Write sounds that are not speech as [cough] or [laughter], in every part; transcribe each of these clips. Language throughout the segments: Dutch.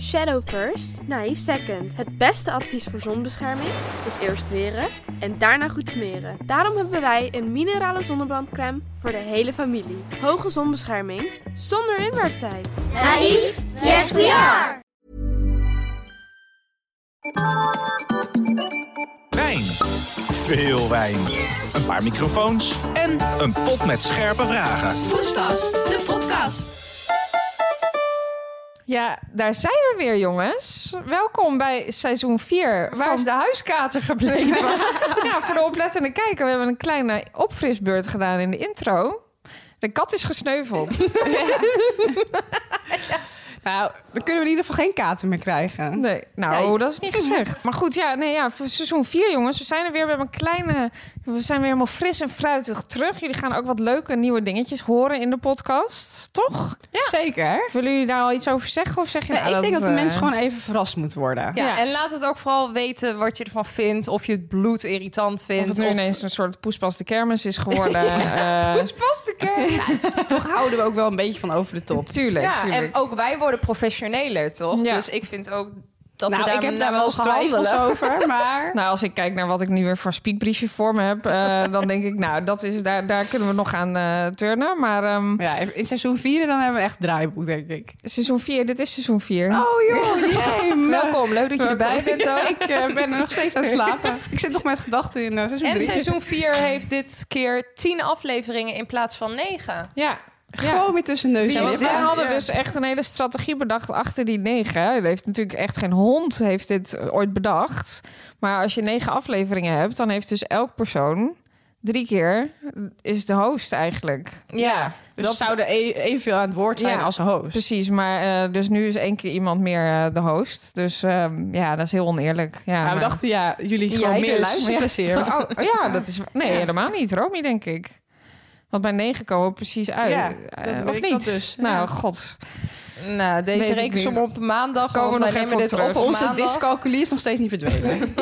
Shadow first, naïef second. Het beste advies voor zonbescherming is eerst weren en daarna goed smeren. Daarom hebben wij een minerale zonnebrandcrème voor de hele familie. Hoge zonbescherming zonder inwerktijd. Naïef? Yes, we are! Wijn. Veel wijn. Een paar microfoons en een pot met scherpe vragen. Poespas, de podcast. Ja, daar zijn we weer, jongens. Welkom bij seizoen 4. Waar is de huiskater gebleven? [laughs] ja, voor de oplettende kijker, we hebben een kleine opfrisbeurt gedaan in de intro. De kat is [laughs] gesneuveld. Nou, dan kunnen we in ieder geval geen kater meer krijgen. Nee, nou, dat is niet gezegd. Maar goed, ja, nee, ja, voor seizoen 4, jongens. We zijn er weer. We hebben een kleine. We zijn weer helemaal fris en fruitig terug. Jullie gaan ook wat leuke nieuwe dingetjes horen in de podcast, toch? Zeker. Willen jullie daar al iets over zeggen? Of zeg je Nee, nou, ik denk dat de eh, mens gewoon even verrast moet [laughs] worden. Ja, Ja. en laat het ook vooral weten wat je ervan vindt. Of je het bloed irritant Of vindt. het nu ineens een soort poespas de kermis is [laughs] geworden. Eh, pas de kerk. Toch houden we ook wel een beetje van over de top. Tuurlijk, Ja, tuurlijk. en ook wij worden professioneler, toch? Ja. Dus ik vind ook dat we nou, daar ik heb naar daar wel eens twijfels [laughs] twijfelen. over, maar... Nou, als ik kijk naar wat ik nu weer voor speakbriefje voor me heb, [laughs] eh, dan denk ik, nou, dat is, daar, daar kunnen we nog aan eh, turnen. Maar ehm, Ja, in seizoen 4 dan hebben we een echt draaiboek, denk ik. seizoen 4, dit is seizoen 4. Oh [laughs] joh, jee. Welkom, leuk dat je erbij bent ook. [laughs] ik eh, ben er nog steeds aan het slapen. [laughs] Ik zit nog met gedachten in eh, seizoen En 3. seizoen 4 heeft dit keer 10 afleveringen in plaats van 9. Ja. Ja. Gewoon weer tussen neus Ja, en want wij lippen. hadden dus echt een hele strategie bedacht achter die negen. hè. Er heeft natuurlijk echt geen hond heeft dit ooit bedacht. Maar als je negen afleveringen hebt, dan heeft dus elk persoon drie keer is de host eigenlijk. Ja. Dus dat- dat zouden e- evenveel aan het woord zijn Ja. als host. Precies, maar eh, dus nu is één keer iemand meer eh, de host. Dus ehm, ja, dat is heel oneerlijk. Ja, Maar Nou, we maar- dachten, ja, jullie gewoon Jij meer [laughs] dus. luisterplezier. Oh, oh, ja, dat is... Nee, helemaal niet. Romy, denk ik. Want bij negen komen we precies uit. Ja, Eh, dat weet of ik niet? dat dus. Nou, Ja. god. Nou, Weet deze ik rekensom niet. op maandag. Komen we want wij nog nemen even op dit op terug. op Onze maandag. discalculier is nog steeds niet verdwenen.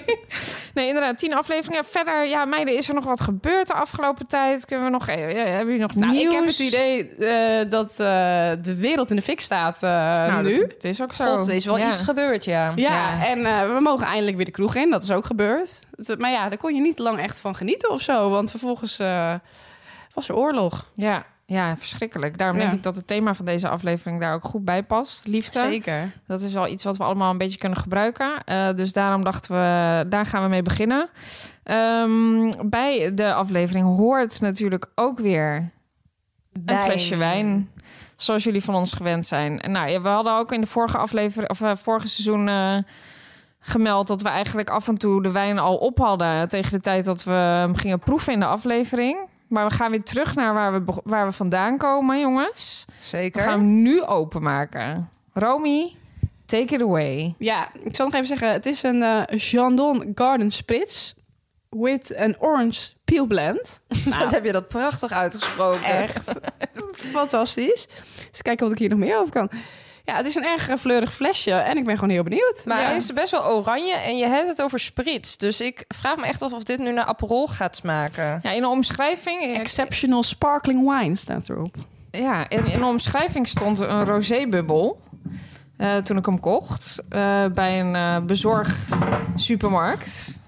[laughs] Nee, inderdaad, tien afleveringen. Verder, ja, meiden, is er nog wat gebeurd de afgelopen tijd? Kunnen we nog... eh, hebben jullie nog Nou, nieuws? ik heb het idee eh, dat eh, de wereld in de fik staat eh, Nou, nu. dat- Het is ook zo. God, er is wel Ja. iets gebeurd, ja. Ja, Ja. en eh, we mogen eindelijk weer de kroeg in. Dat is ook gebeurd. Het- maar ja, daar kon je niet lang echt van genieten of zo. Want vervolgens eh, was er oorlog. Ja, ja, verschrikkelijk. Daarom Ja. denk ik dat het thema van deze aflevering daar ook goed bij past. Liefde. Zeker. Dat is wel iets wat we allemaal een beetje kunnen gebruiken. Eh, dus daarom dachten we, daar gaan we mee beginnen. Ehm, bij de aflevering hoort natuurlijk ook weer een flesje wijn. Zoals jullie van ons gewend zijn. En nou, ja, we hadden ook in de vorige aflevering, of eh, vorige seizoen. eh, gemeld dat we eigenlijk af en toe de wijn al op hadden. tegen de tijd dat we hem gingen proeven in de aflevering. Maar we gaan weer terug naar waar we, beg- waar we vandaan komen, jongens. We Zeker. gaan hem nu openmaken. Romy, take it away. Ja, ik zal nog even zeggen. Het is een eh Jandon Garden Spritz with an orange peel blend. Wat heb je [laughs] dat prachtig uitgesproken. Echt [laughs] fantastisch. Dus kijken wat ik hier nog meer over kan. Ja, het is een erg eh, fleurig flesje en ik ben gewoon heel benieuwd. Maar Ja. hij is best wel oranje en je hebt het over sprits. Dus ik vraag me echt af of dit nu naar Aperol gaat smaken. Ja, in de omschrijving. ik- Exceptional sparkling wine staat erop. Ja, in, in de omschrijving stond een rosébubbel. eh, toen ik hem kocht eh, bij een eh bezorgsupermarkt.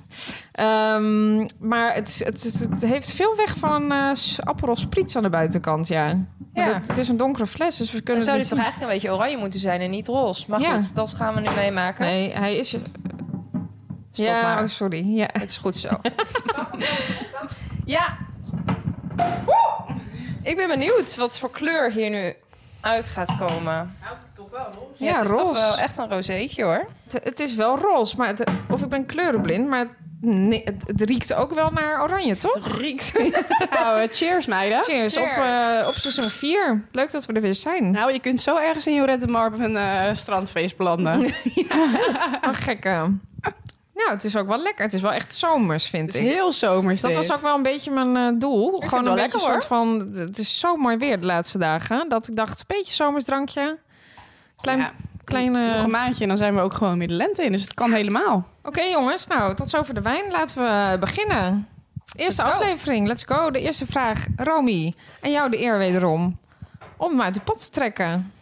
Ehm, maar het, is- het, het, het heeft veel weg van een eh, s- Aperol Spritz aan de buitenkant, ja. Maar Ja. dat- het is een donkere fles, dus we Dan kunnen... zou het dit toch niet- eigenlijk een beetje oranje moeten zijn en niet roze. Maar Ja. goed, dat gaan we nu meemaken. Nee, hij is... Stop ja, maar. oh, sorry. Ja. Het is goed zo. ja. Ik ben benieuwd wat voor kleur hier nu uit gaat komen. Ja, Ja, het is toch roze. wel echt een rozeetje hoor. Het, het is wel roze, maar het- of ik ben kleurenblind, maar... het- Nee, het, het riekt ook wel naar oranje, toch? [laughs] Nou, eh, cheers meiden. Cheers, Op, Cheers. eh, op seizoen 4. Leuk dat we er weer zijn. Nou, je kunt zo ergens in Jorette Mar op een eh, strandfeest belanden. Een gekke. Nou, het is ook wel lekker. Het is wel echt zomers, vind Het is ik. heel zomers Dat was ook wel een beetje mijn eh, doel. het Gewoon een wel beetje lekker, soort van... Het is zo mooi weer de laatste dagen. Dat ik dacht, een beetje zomersdrankje. Klein... Ja. klein eh, Nog een maandje en dan zijn we ook gewoon weer de lente in. Dus het kan helemaal. Oké jongens, nou, tot zover de wijn. Laten we beginnen. Eerste Let's go. aflevering, let's go. De eerste Nou, vraag, Romy. En jou de eer wederom. Om hem uit de pot te trekken.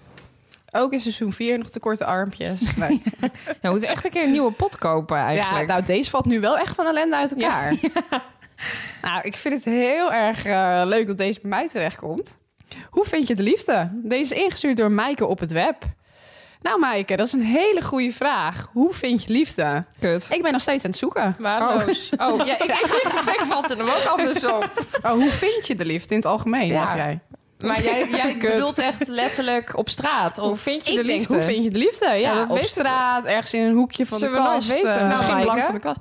Ook in seizoen 4 nog te korte armpjes. Nou, Nou, we moeten echt een keer een nieuwe pot kopen ja, eigenlijk. nou, deze valt nu wel echt van ellende uit elkaar. [laughs] Nou, ik vind het heel erg eh, leuk dat deze bij mij terechtkomt. Hoe vind je de liefde? Deze is ingestuurd door Maaike op het web. Nou, Maaike, dat is een hele goede vraag. Hoe vind je liefde? Kut. Ik ben nog steeds aan het zoeken. Waardeloos. Oh, ja, ik, ik, ik, ik vatte hem ook anders [laughs] op. Maar Oh, hoe vind je de liefde in het algemeen? Ja. dacht jij? Maar jij, jij bedoelt echt letterlijk op straat. Hoe Of vind je Ik de denk, liefde? hoe vind je de liefde? Ja, Ja, dat op weten we. straat, ergens in een hoekje van Zullen de we kast. nooit weten, eh, nou, misschien Maaike? blank van de kast.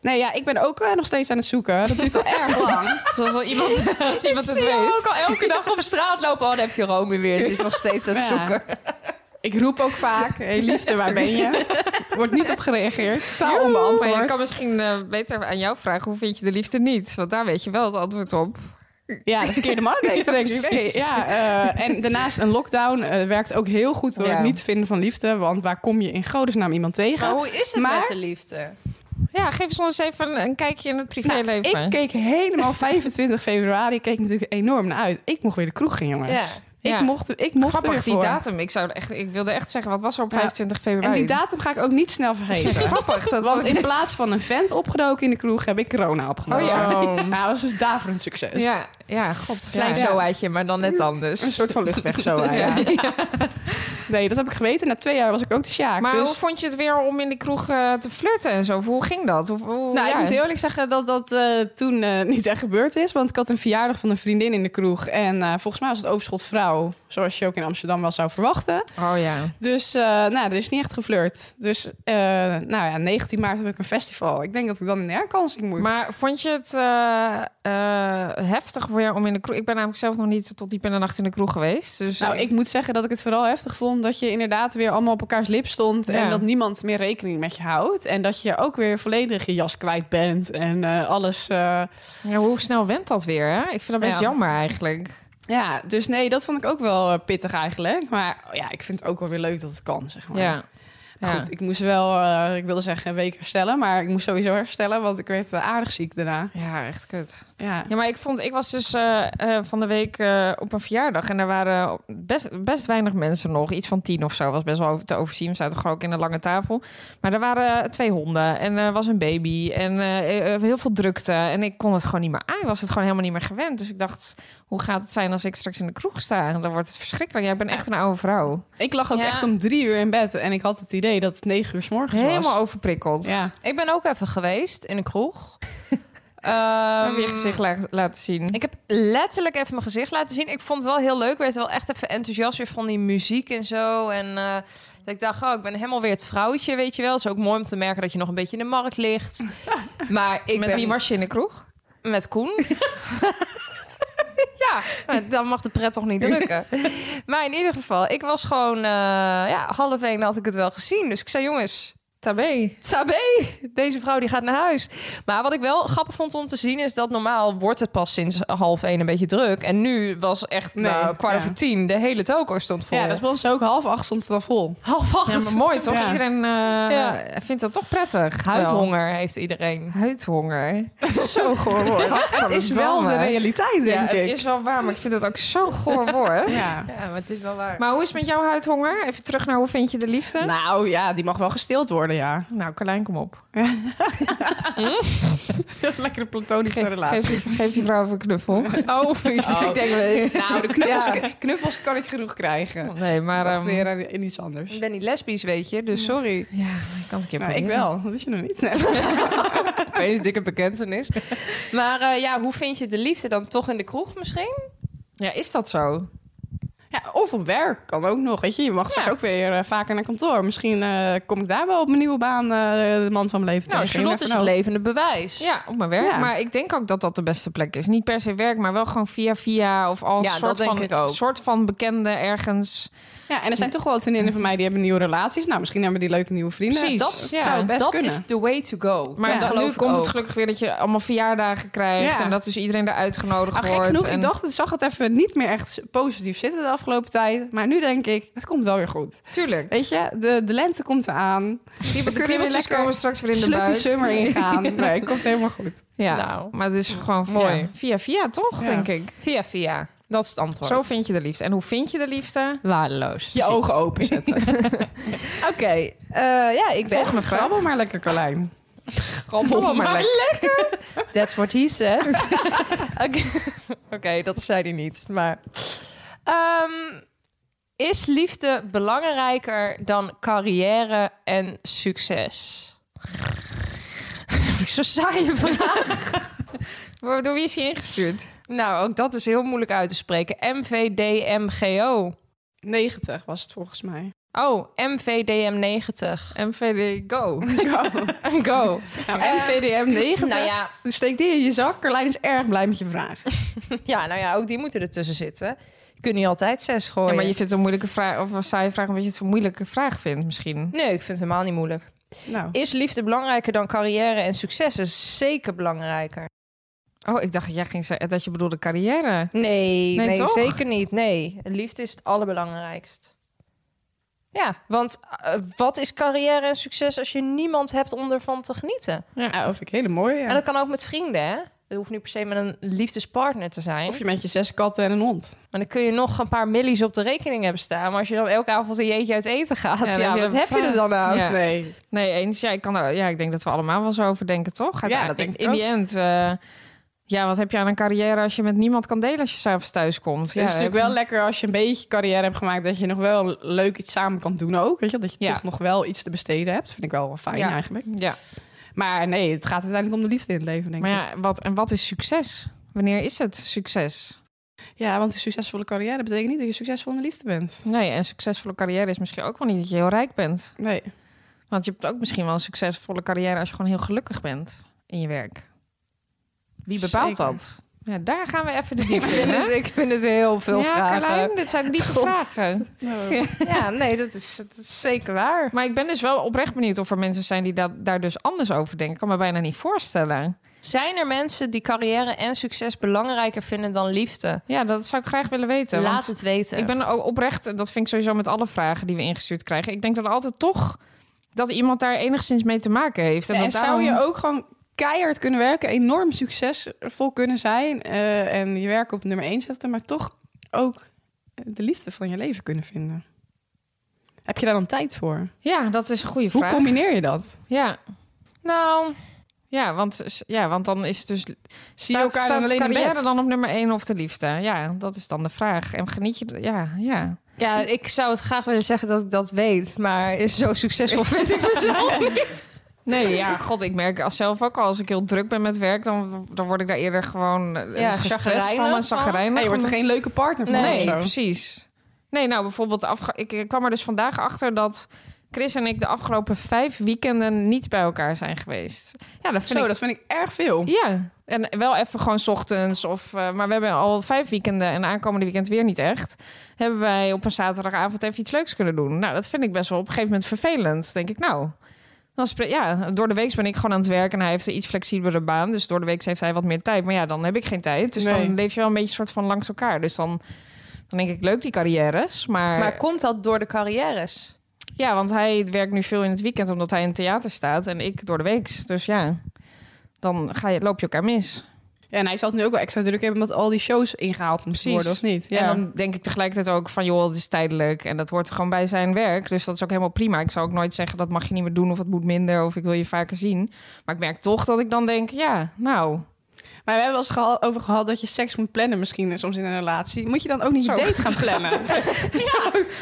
Nee, ja, ik ben ook eh, nog steeds aan het zoeken. Dat duurt [laughs] al erg lang. Zoals al [laughs] iemand, als iemand het weet. ook al elke dag op straat lopen. Oh, dan heb je Rome weer. Ze is nog steeds aan het Ja. zoeken. Ik roep ook vaak, hey, liefde, waar ben [laughs] je? Wordt niet op gereageerd. Totaal onbeantwoord. Maar je kan misschien eh, beter aan jou vragen, hoe vind je de liefde niet? Want daar weet je wel het antwoord op. Ja, de verkeerde man heeft er denk ik. Nee, precies. ja, eh, en daarnaast een lockdown eh, werkt ook heel goed door Ja. het niet vinden van liefde. Want waar kom je in godesnaam iemand tegen? Maar hoe is het Maar- met de liefde? Ja, geef ons eens even een, een kijkje in het Nou, privéleven. ik keek helemaal 25 februari, ik keek natuurlijk enorm naar uit. Ik mocht weer de kroeg gaan, jongens. Ja. Ik Ja. mocht, ik mocht er Grappig, weer die voor. datum. Ik, zou echt, ik wilde echt zeggen, wat was er op Ja. 25 En februari? die datum ga ik ook niet snel vergeten. [laughs] Grappig. Dat Want in plaats van een vent opgedoken in de kroeg heb ik corona opgenomen. Oh ja. Nou, dat was dus daverend succes. Ja, ja, god. Klein ja. zoaatje, maar dan net anders. Een soort van luchtweg [laughs] zo. ja. Nee, dat heb ik geweten. Na twee jaar was ik ook de Sjaak. Maar dus... hoe vond je het weer om in de kroeg eh, te flirten en zo? Hoe ging dat? Hoe, hoe- ja. Nou, ik moet eerlijk zeggen dat dat eh, toen eh, [laughs] niet echt gebeurd is. Want ik had een verjaardag van een vriendin in de kroeg. En eh, volgens mij was het overschot vrouw. Zoals je ook in Amsterdam wel zou verwachten. Oh ja. Dus eh, nou, er is niet echt geflirt. Dus eh, nou ja, 19 maart heb ik een festival. Ik denk dat ik dan in herkansing moet. Maar vond je het eh, eh, heftig weer om in de kroeg... Ik ben namelijk zelf nog niet tot diep in de nacht in de kroeg geweest. Dus nou, eh, ik moet zeggen dat ik het vooral heftig vond dat je inderdaad weer allemaal op elkaars lip stond. En Ja. dat niemand meer rekening met je houdt. En dat je ook weer volledig je jas kwijt bent. En eh, alles. eh, ja, hoe snel went dat weer, hè? Ik vind dat best Ja. jammer eigenlijk. Ja, dus nee, dat vond ik ook wel eh, pittig eigenlijk. Maar oh ja, ik vind het ook wel weer leuk dat het kan, zeg maar. Ja. Maar Goed, ik moest wel, eh, ik wilde zeggen een week herstellen, maar ik moest sowieso herstellen, want ik werd eh, aardig ziek daarna. ja, echt kut. Ja. Ja, maar ik vond, ik was dus eh, eh, van de week eh, op een verjaardag en daar waren best, best weinig mensen nog. Iets van tien of zo was best wel over- te overzien. We zaten gewoon ook in een lange tafel. Maar er waren eh, twee honden en er was een baby en eh, eh, heel veel drukte. En ik kon het gewoon niet meer aan. Ik was het gewoon helemaal niet meer gewend. Dus ik dacht, hoe gaat het zijn als ik straks in de kroeg sta? En dan wordt het verschrikkelijk. Jij bent echt een oude vrouw. Ik lag ook Ja. echt om drie uur in bed en ik had het idee dat het negen uur s morgens Helemaal was. overprikkeld. Ja. Ik ben ook even geweest in een kroeg. Ik Ehm, [laughs] heb je gezicht la- laten zien. ik heb letterlijk even mijn gezicht laten zien. Ik vond het wel heel leuk. Ik werd wel echt even enthousiast weer van die muziek en zo. En eh, dat ik dacht, oh, ik ben helemaal weer het vrouwtje, weet je wel. Het is ook mooi om te merken dat je nog een beetje in de markt [laughs] ligt. Maar ik Met ben- wie was je in de kroeg? Met [laughs] Koen. [laughs] ja, maar dan mag de pret toch [laughs] niet drukken. maar in ieder geval, ik was gewoon... eh, ja, half één had ik het wel gezien. Dus ik zei, jongens, Tabé. Tabé, deze vrouw die gaat naar huis. Maar wat ik wel grappig vond om te zien is dat normaal wordt het pas sinds half één een beetje druk. En nu was echt Nee, nou, kwart ja. over tien, de hele toko stond vol. ja, dat is dus bij ons ook half acht stond het al vol. half acht. Ja, maar mooi toch? Ja. Iedereen eh, dus- Ja. vindt dat toch prettig? Wel. Huidhonger heeft iedereen. Huidhonger. Zo goor [laughs] Het is wel de realiteit, Ja, denk het ik. is wel waar, maar ik vind het ook zo'n [laughs] goor woord. Ja. Ja, maar het is [laughs] wel waar. Maar hoe is het met jouw huidhonger? Even terug naar hoe vind je de liefde? Nou, Nou ja, die mag wel gestild worden, ja. Carlijn, kom op. [laughs] Lekkere platonische Geef, relatie. geef, die- geef die vrouw even een [laughs] knuffel. Oh, ik denk wel. Nou, de knuffels, knuffels kan ik genoeg krijgen. Nee, maar... Maar ehm, weer aan- in iets anders. Ik ben niet lesbisch, weet je, dus sorry. ja, ik kan het een keer Nou, ik proberen. wel. Dat wist je nog niet. [laughs] [laughs] Opeens dikke bekentenis. [laughs] Maar eh, ja, hoe vind je de liefde dan toch in de kroeg misschien? Ja, is dat zo? Ja, of op werk kan ook nog. Weet je, je mag straks Ja. ook weer eh, vaker naar kantoor. Misschien eh, kom ik daar wel op mijn nieuwe baan eh, de man van mijn leven Nou, tegen. Charlotte is You het never levende bewijs. Ja, op mijn werk. Ja. Maar ik denk ook dat dat de beste plek is. Niet per se werk, maar wel gewoon via via of als Ja, dat soort, denk van, ik ook. soort van bekende ergens. know. Ja, en er zijn toch wel wat vriendinnen van mij die hebben nieuwe relaties. Nou, misschien hebben die leuke nieuwe vrienden. Precies. Dat Ja, zou best dat kunnen. is the way to go. Maar Ja, dan- nu geloof ik komt ook. het gelukkig weer dat je allemaal verjaardagen krijgt. Ja. En dat dus iedereen er uitgenodigd Ah, gek wordt. genoeg, en... ik dacht, ik zag het even niet meer echt positief zitten de afgelopen tijd. Maar nu denk ik, het komt wel weer goed. Tuurlijk. Weet je, de, de lente komt eraan. Die kunnen weer kriebeltjes lekker komen straks weer in de Slut die buik. summer ingaan. Nee, het komt helemaal goed. Ja, Nou. maar het is gewoon Mooi. mooi. mm, Via via toch, Ja. denk ik. Via via. Dat is het antwoord. Zo vind je de liefde. En hoe vind je de liefde? waardeloos. Je ogen [laughs] openzetten. Oké, eh, ja, ik ben... Volgende vraag. Grabbel maar lekker, Carlijn. Grabbel maar lekker. [laughs] That's what he said. Oké, oké, dat zei hij niet. Maar Ehm, is liefde belangrijker dan carrière en succes? [laughs] Dat vind ik Zo'n saaie vraag. [laughs] Door door wie is hij ingestuurd? nou, ook dat is heel moeilijk uit te spreken. MVDMGO. 90 was het volgens mij. Oh, MVDM90. MVD Go. Go. Nou, MVDM 90. nou ja, Dus steek die in je zak. Carlijn is erg blij met je vraag. ja, nou ja, ook die moeten ertussen zitten. Je kunt niet altijd zes gooien. Ja, maar je vindt het een moeilijke vraag, of een saaie vraag, omdat je het een moeilijke vraag vindt misschien. Nee, ik vind het helemaal niet moeilijk. Nou, Is liefde belangrijker dan carrière en succes? Is zeker belangrijker. Oh, ik dacht dat jij ging zeggen dat je bedoelde carrière. Nee, nee, Nee, toch? zeker niet. Nee, liefde is het allerbelangrijkst. Ja, want eh, wat is carrière en succes als je niemand hebt om ervan te genieten? ja, dat vind ik hele mooi. ja. En dat kan ook met vrienden, hè? Dat hoeft niet per se met een liefdespartner te zijn. Of je met je zes katten en een hond. Maar dan kun je nog een paar millies op de rekening hebben staan. Maar als je dan elke avond een jeetje uit eten gaat, ja, dan heb je wat een heb je er vraag. dan aan? Ja. Nee. Nee, eens. Ja, ik, kan, er- ja, ik denk dat we allemaal wel zo over denken, toch? Ja, Uiteindelijk- dat denk ik In die end, eh, ja, wat heb je aan een carrière als je met niemand kan delen als je s'avonds thuis komt? Het is natuurlijk wel lekker als je een beetje carrière hebt gemaakt... dat je nog wel leuk iets samen kan doen ook. Weet je? Dat je Ja. toch nog wel iets te besteden hebt. Vind ik wel wel fijn Ja. eigenlijk. Ja, Maar nee, het gaat uiteindelijk om de liefde in het leven, denk maar ja, wat, en wat is succes? Wanneer is het succes? ik. Ja, want een succesvolle carrière betekent niet dat je succesvol in de liefde bent. Nee, en succesvolle carrière is misschien ook wel niet dat je heel rijk bent. Nee. Want je hebt ook misschien wel een succesvolle carrière als je gewoon heel gelukkig bent in je werk. Wie bepaalt Zeker. dat? Ja, daar gaan we even de Ik, diepte in. vind hè? [laughs] het, ik vind het heel veel ja, vragen. Carlijn, dit zijn diepe vragen. Nou, [laughs] Ja, nee, dat is, dat is zeker waar. Maar ik ben dus wel oprecht benieuwd of er mensen zijn die dat, daar dus anders over denken. Ik kan me bijna niet voorstellen. Zijn er mensen die carrière en succes belangrijker vinden dan liefde? Ja, dat zou ik graag willen weten. Laat want het weten. eh. ik ben ook oprecht, en dat vind ik sowieso met alle vragen die we ingestuurd krijgen. Ik denk dat er altijd toch dat iemand daar enigszins mee te maken heeft. En, dat zou daarom- je ook gewoon keihard kunnen werken, enorm succesvol kunnen zijn eh, en je werk op nummer 1 zetten, maar toch ook de liefde van je leven kunnen vinden? Heb je daar dan tijd voor? Ja, dat is een goede Hoe vraag. combineer je dat? Ja, Nou, ja, want, ja, want dan is het dus... Zie je staat, elkaar staat dan alleen in carrière bed? dan op nummer één of de liefde? Ja, dat is dan de vraag. En geniet je... Ja, ja. ja, ik zou het graag willen zeggen dat ik dat weet. Maar is zo [laughs] succesvol vind ik mezelf niet. Nee, [laughs] ja, god, ik merk als zelf ook al. Als ik heel druk ben met werk, dan, dan word ik daar eerder gewoon Ja, ja, gestrest chagrijnig van van. en chagrijnig. Nee, je wordt er van. geen leuke partner van Nee, of zo. precies. Nee, nou bijvoorbeeld, afge- ik ik kwam er dus vandaag achter dat Chris en ik de afgelopen vijf weekenden niet bij elkaar zijn geweest. Ja, dat vind Zo, ik... dat vind ik erg veel. Ja, en wel even gewoon 's ochtends. Of, eh, maar we hebben al vijf weekenden en aankomende weekend weer niet echt. Hebben wij op een zaterdagavond even iets leuks kunnen doen. Nou, dat vind ik best wel op een gegeven moment vervelend. Denk ik, nou. Dan spre- ja, door de week ben ik gewoon aan het werk en hij heeft een iets flexibelere baan. Dus door de week heeft hij wat meer tijd. Maar ja, dan heb ik geen tijd. Dus Nee. dan leef je wel een beetje soort van langs elkaar. Dus dan, dan denk ik, leuk die carrières. Maar, Maar komt dat door de carrières? ja, want hij werkt nu veel in het weekend omdat hij in het theater staat. En ik door de week. Dus ja, dan ga je, loop je elkaar mis. Ja, en hij zal het nu ook wel extra druk hebben omdat al die shows ingehaald moeten Precies. worden, of niet? Ja. En dan denk ik tegelijkertijd ook van, joh, het is tijdelijk. En dat hoort er gewoon bij zijn werk. Dus dat is ook helemaal prima. Ik zou ook nooit zeggen, dat mag je niet meer doen of het moet minder. Of ik wil je vaker zien. Maar ik merk toch dat ik dan denk, ja, nou. Maar we hebben wel eens geha- over gehad dat je seks moet plannen misschien eh, soms in een relatie. Moet je dan ook niet je Zo. date gaan [laughs] [laughs] plannen? Oh,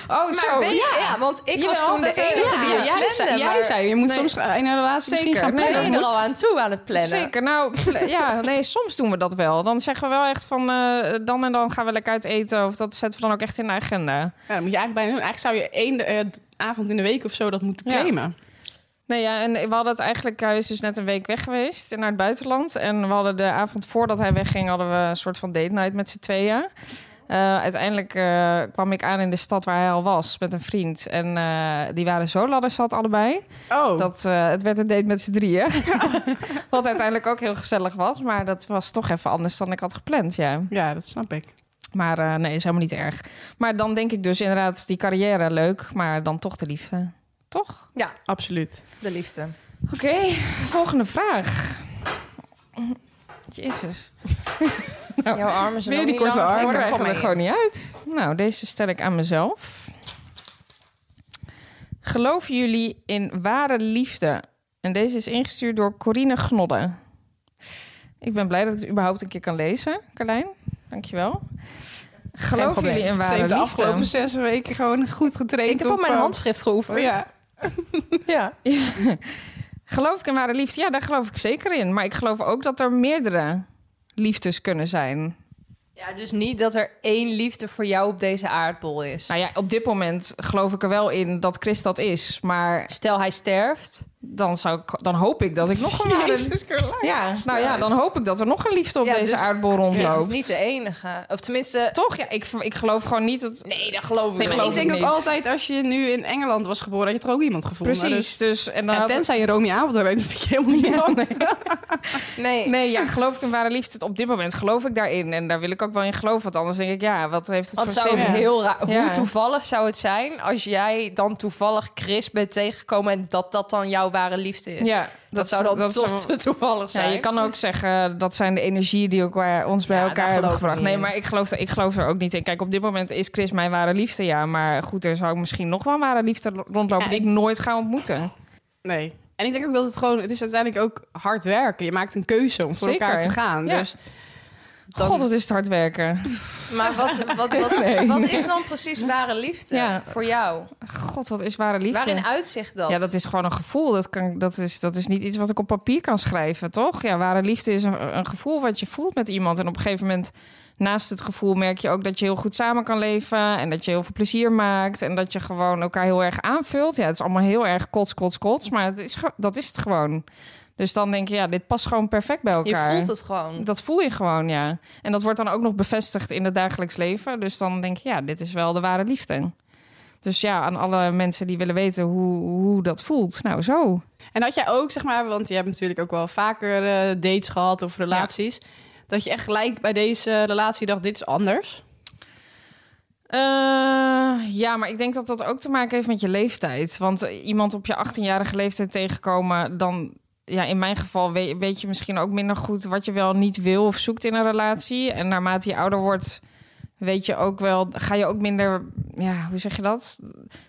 Maar weet je, ja. want ik Jawel, was toen de dat, eh, enige ja, die het jij, plande, zei, jij maar- zei, je moet Nee. soms in een relatie misschien Zeker, gaan Ben plannen. je er al aan toe aan het plannen? Zeker, nou pl- [laughs] ja, nee, soms doen we dat wel. Dan zeggen we wel echt van eh, dan en dan gaan we lekker uit eten. Of dat zetten we dan ook echt in de agenda. Ja, dat moet je eigenlijk bijna doen. Eigenlijk zou je één eh, d- avond in de week of zo dat moeten Ja. claimen. Nee, ja, en we hadden het eigenlijk, hij is dus net een week weg geweest naar het buitenland. En we hadden de avond voordat hij wegging, hadden we een soort van date night met z'n tweeën. Eh, uiteindelijk eh, kwam ik aan in de stad waar hij al was met een vriend. En eh, die waren zo ladderzat allebei. Oh, Dat eh, het werd een date met z'n drieën. [laughs] Wat uiteindelijk ook heel gezellig was. Maar dat was toch even anders dan ik had gepland, ja. ja, dat snap ik. Maar eh, nee, is helemaal niet erg. Maar dan denk ik dus inderdaad die carrière leuk, maar dan toch de liefde. Toch? Ja, Absoluut. de liefde. Oké, volgende vraag. Jezus. Nou, Jouw armen zijn Weer ook die niet korte lang, armen, worden worden we wij gewoon er gewoon niet uit. Nou, deze stel ik aan mezelf. Geloven jullie in ware liefde? En deze is ingestuurd door Corine Gnodde. Ik ben blij dat ik het überhaupt een keer kan lezen, Carlijn. Dankjewel. Geloven jullie in Ze ware heeft de liefde? afgelopen zes weken gewoon goed getraind. Ik heb op mijn eh, handschrift geoefend. Ja. ja. Geloof ik in ware liefde? Ja, daar geloof ik zeker in. Maar ik geloof ook dat er meerdere liefdes kunnen zijn. Ja, dus niet dat er één liefde voor jou op deze aardbol is. Nou ja, op dit moment geloof ik er wel in dat Chris dat is. Maar Stel hij sterft. dan, zou ik, dan hoop ik dat ik nog een [laughs] ware Ja, nou ja, dan hoop ik dat er nog een liefde op Ja, deze dus aardbol Chris rondloopt. is niet de enige. Of tenminste... Toch? Ja, ik, ik geloof gewoon niet dat... Nee, dat geloof ik Nee, maar niet. Ik denk ook altijd, als je nu in Engeland was geboren, had je er ook iemand gevonden. Precies, Dus, dus... En dan ja, had- tenzij je Romy Abel bent, vind je helemaal niemand. Nee. Nee, ja, geloof ik in ware liefde. Op dit moment geloof ik daarin. En daar wil ik ook wel in geloven. Want anders denk ik, ja, wat heeft het Want voor zou zin? ik heel raar... Ja. Hoe toevallig zou het zijn als jij dan toevallig Chris bent tegengekomen... en dat dat dan jouw ware liefde is? Ja, Dat, zou dan toch zou- te toevallig Ja, zijn. je kan ook zeggen, dat zijn de energieën die elkaar, ons bij Ja, daar elkaar hebben geloof ik gebracht. niet Nee, in. maar ik geloof, er- ik geloof er ook niet in. Kijk, op dit moment is Chris mijn ware liefde, ja. Maar goed, er zou misschien nog wel een ware liefde rondlopen Ja, die ik nooit ga ontmoeten. Nee. En ik denk ook dat het gewoon, het is uiteindelijk ook hard werken. Je maakt een keuze om voor Zeker. elkaar te gaan. Ja. Dus dan- God, wat is het hard werken. Maar wat, wat, [laughs] wat, wat is dan precies ware liefde Ja. voor jou? God, wat is ware liefde. Waarin uitzicht dat? Ja, dat is gewoon een gevoel. Dat, kan, dat, is, dat is niet iets wat ik op papier kan schrijven, toch? Ja, ware liefde is een, een gevoel wat je voelt met iemand. En op een gegeven moment, naast het gevoel, merk je ook dat je heel goed samen kan leven. En dat je heel veel plezier maakt. En dat je gewoon elkaar heel erg aanvult. Ja, het is allemaal heel erg kots, kots, kots. Maar het is, ge- dat is het gewoon. Dus dan denk je, ja, dit past gewoon perfect bij je elkaar. voelt het gewoon. Dat voel je gewoon, ja. En dat wordt dan ook nog bevestigd in het dagelijks leven. Dus dan denk je, ja, dit is wel de ware liefde. Dus ja, aan alle mensen die willen weten hoe, hoe dat voelt. Nou, zo. En had jij ook, zeg maar, want je hebt natuurlijk ook wel vaker eh, dates gehad of relaties. Dat je echt gelijk bij deze relatie dacht, dit is anders. Eh, ja, maar ik denk dat dat ook te maken heeft met je leeftijd. Want eh, iemand op je 18-jarige leeftijd tegenkomen, dan. Ja, in mijn geval weet, weet je misschien ook minder goed wat je wel niet wil of zoekt in een relatie. En naarmate je ouder wordt, weet je ook wel, ga je ook minder. Ja, hoe zeg je dat?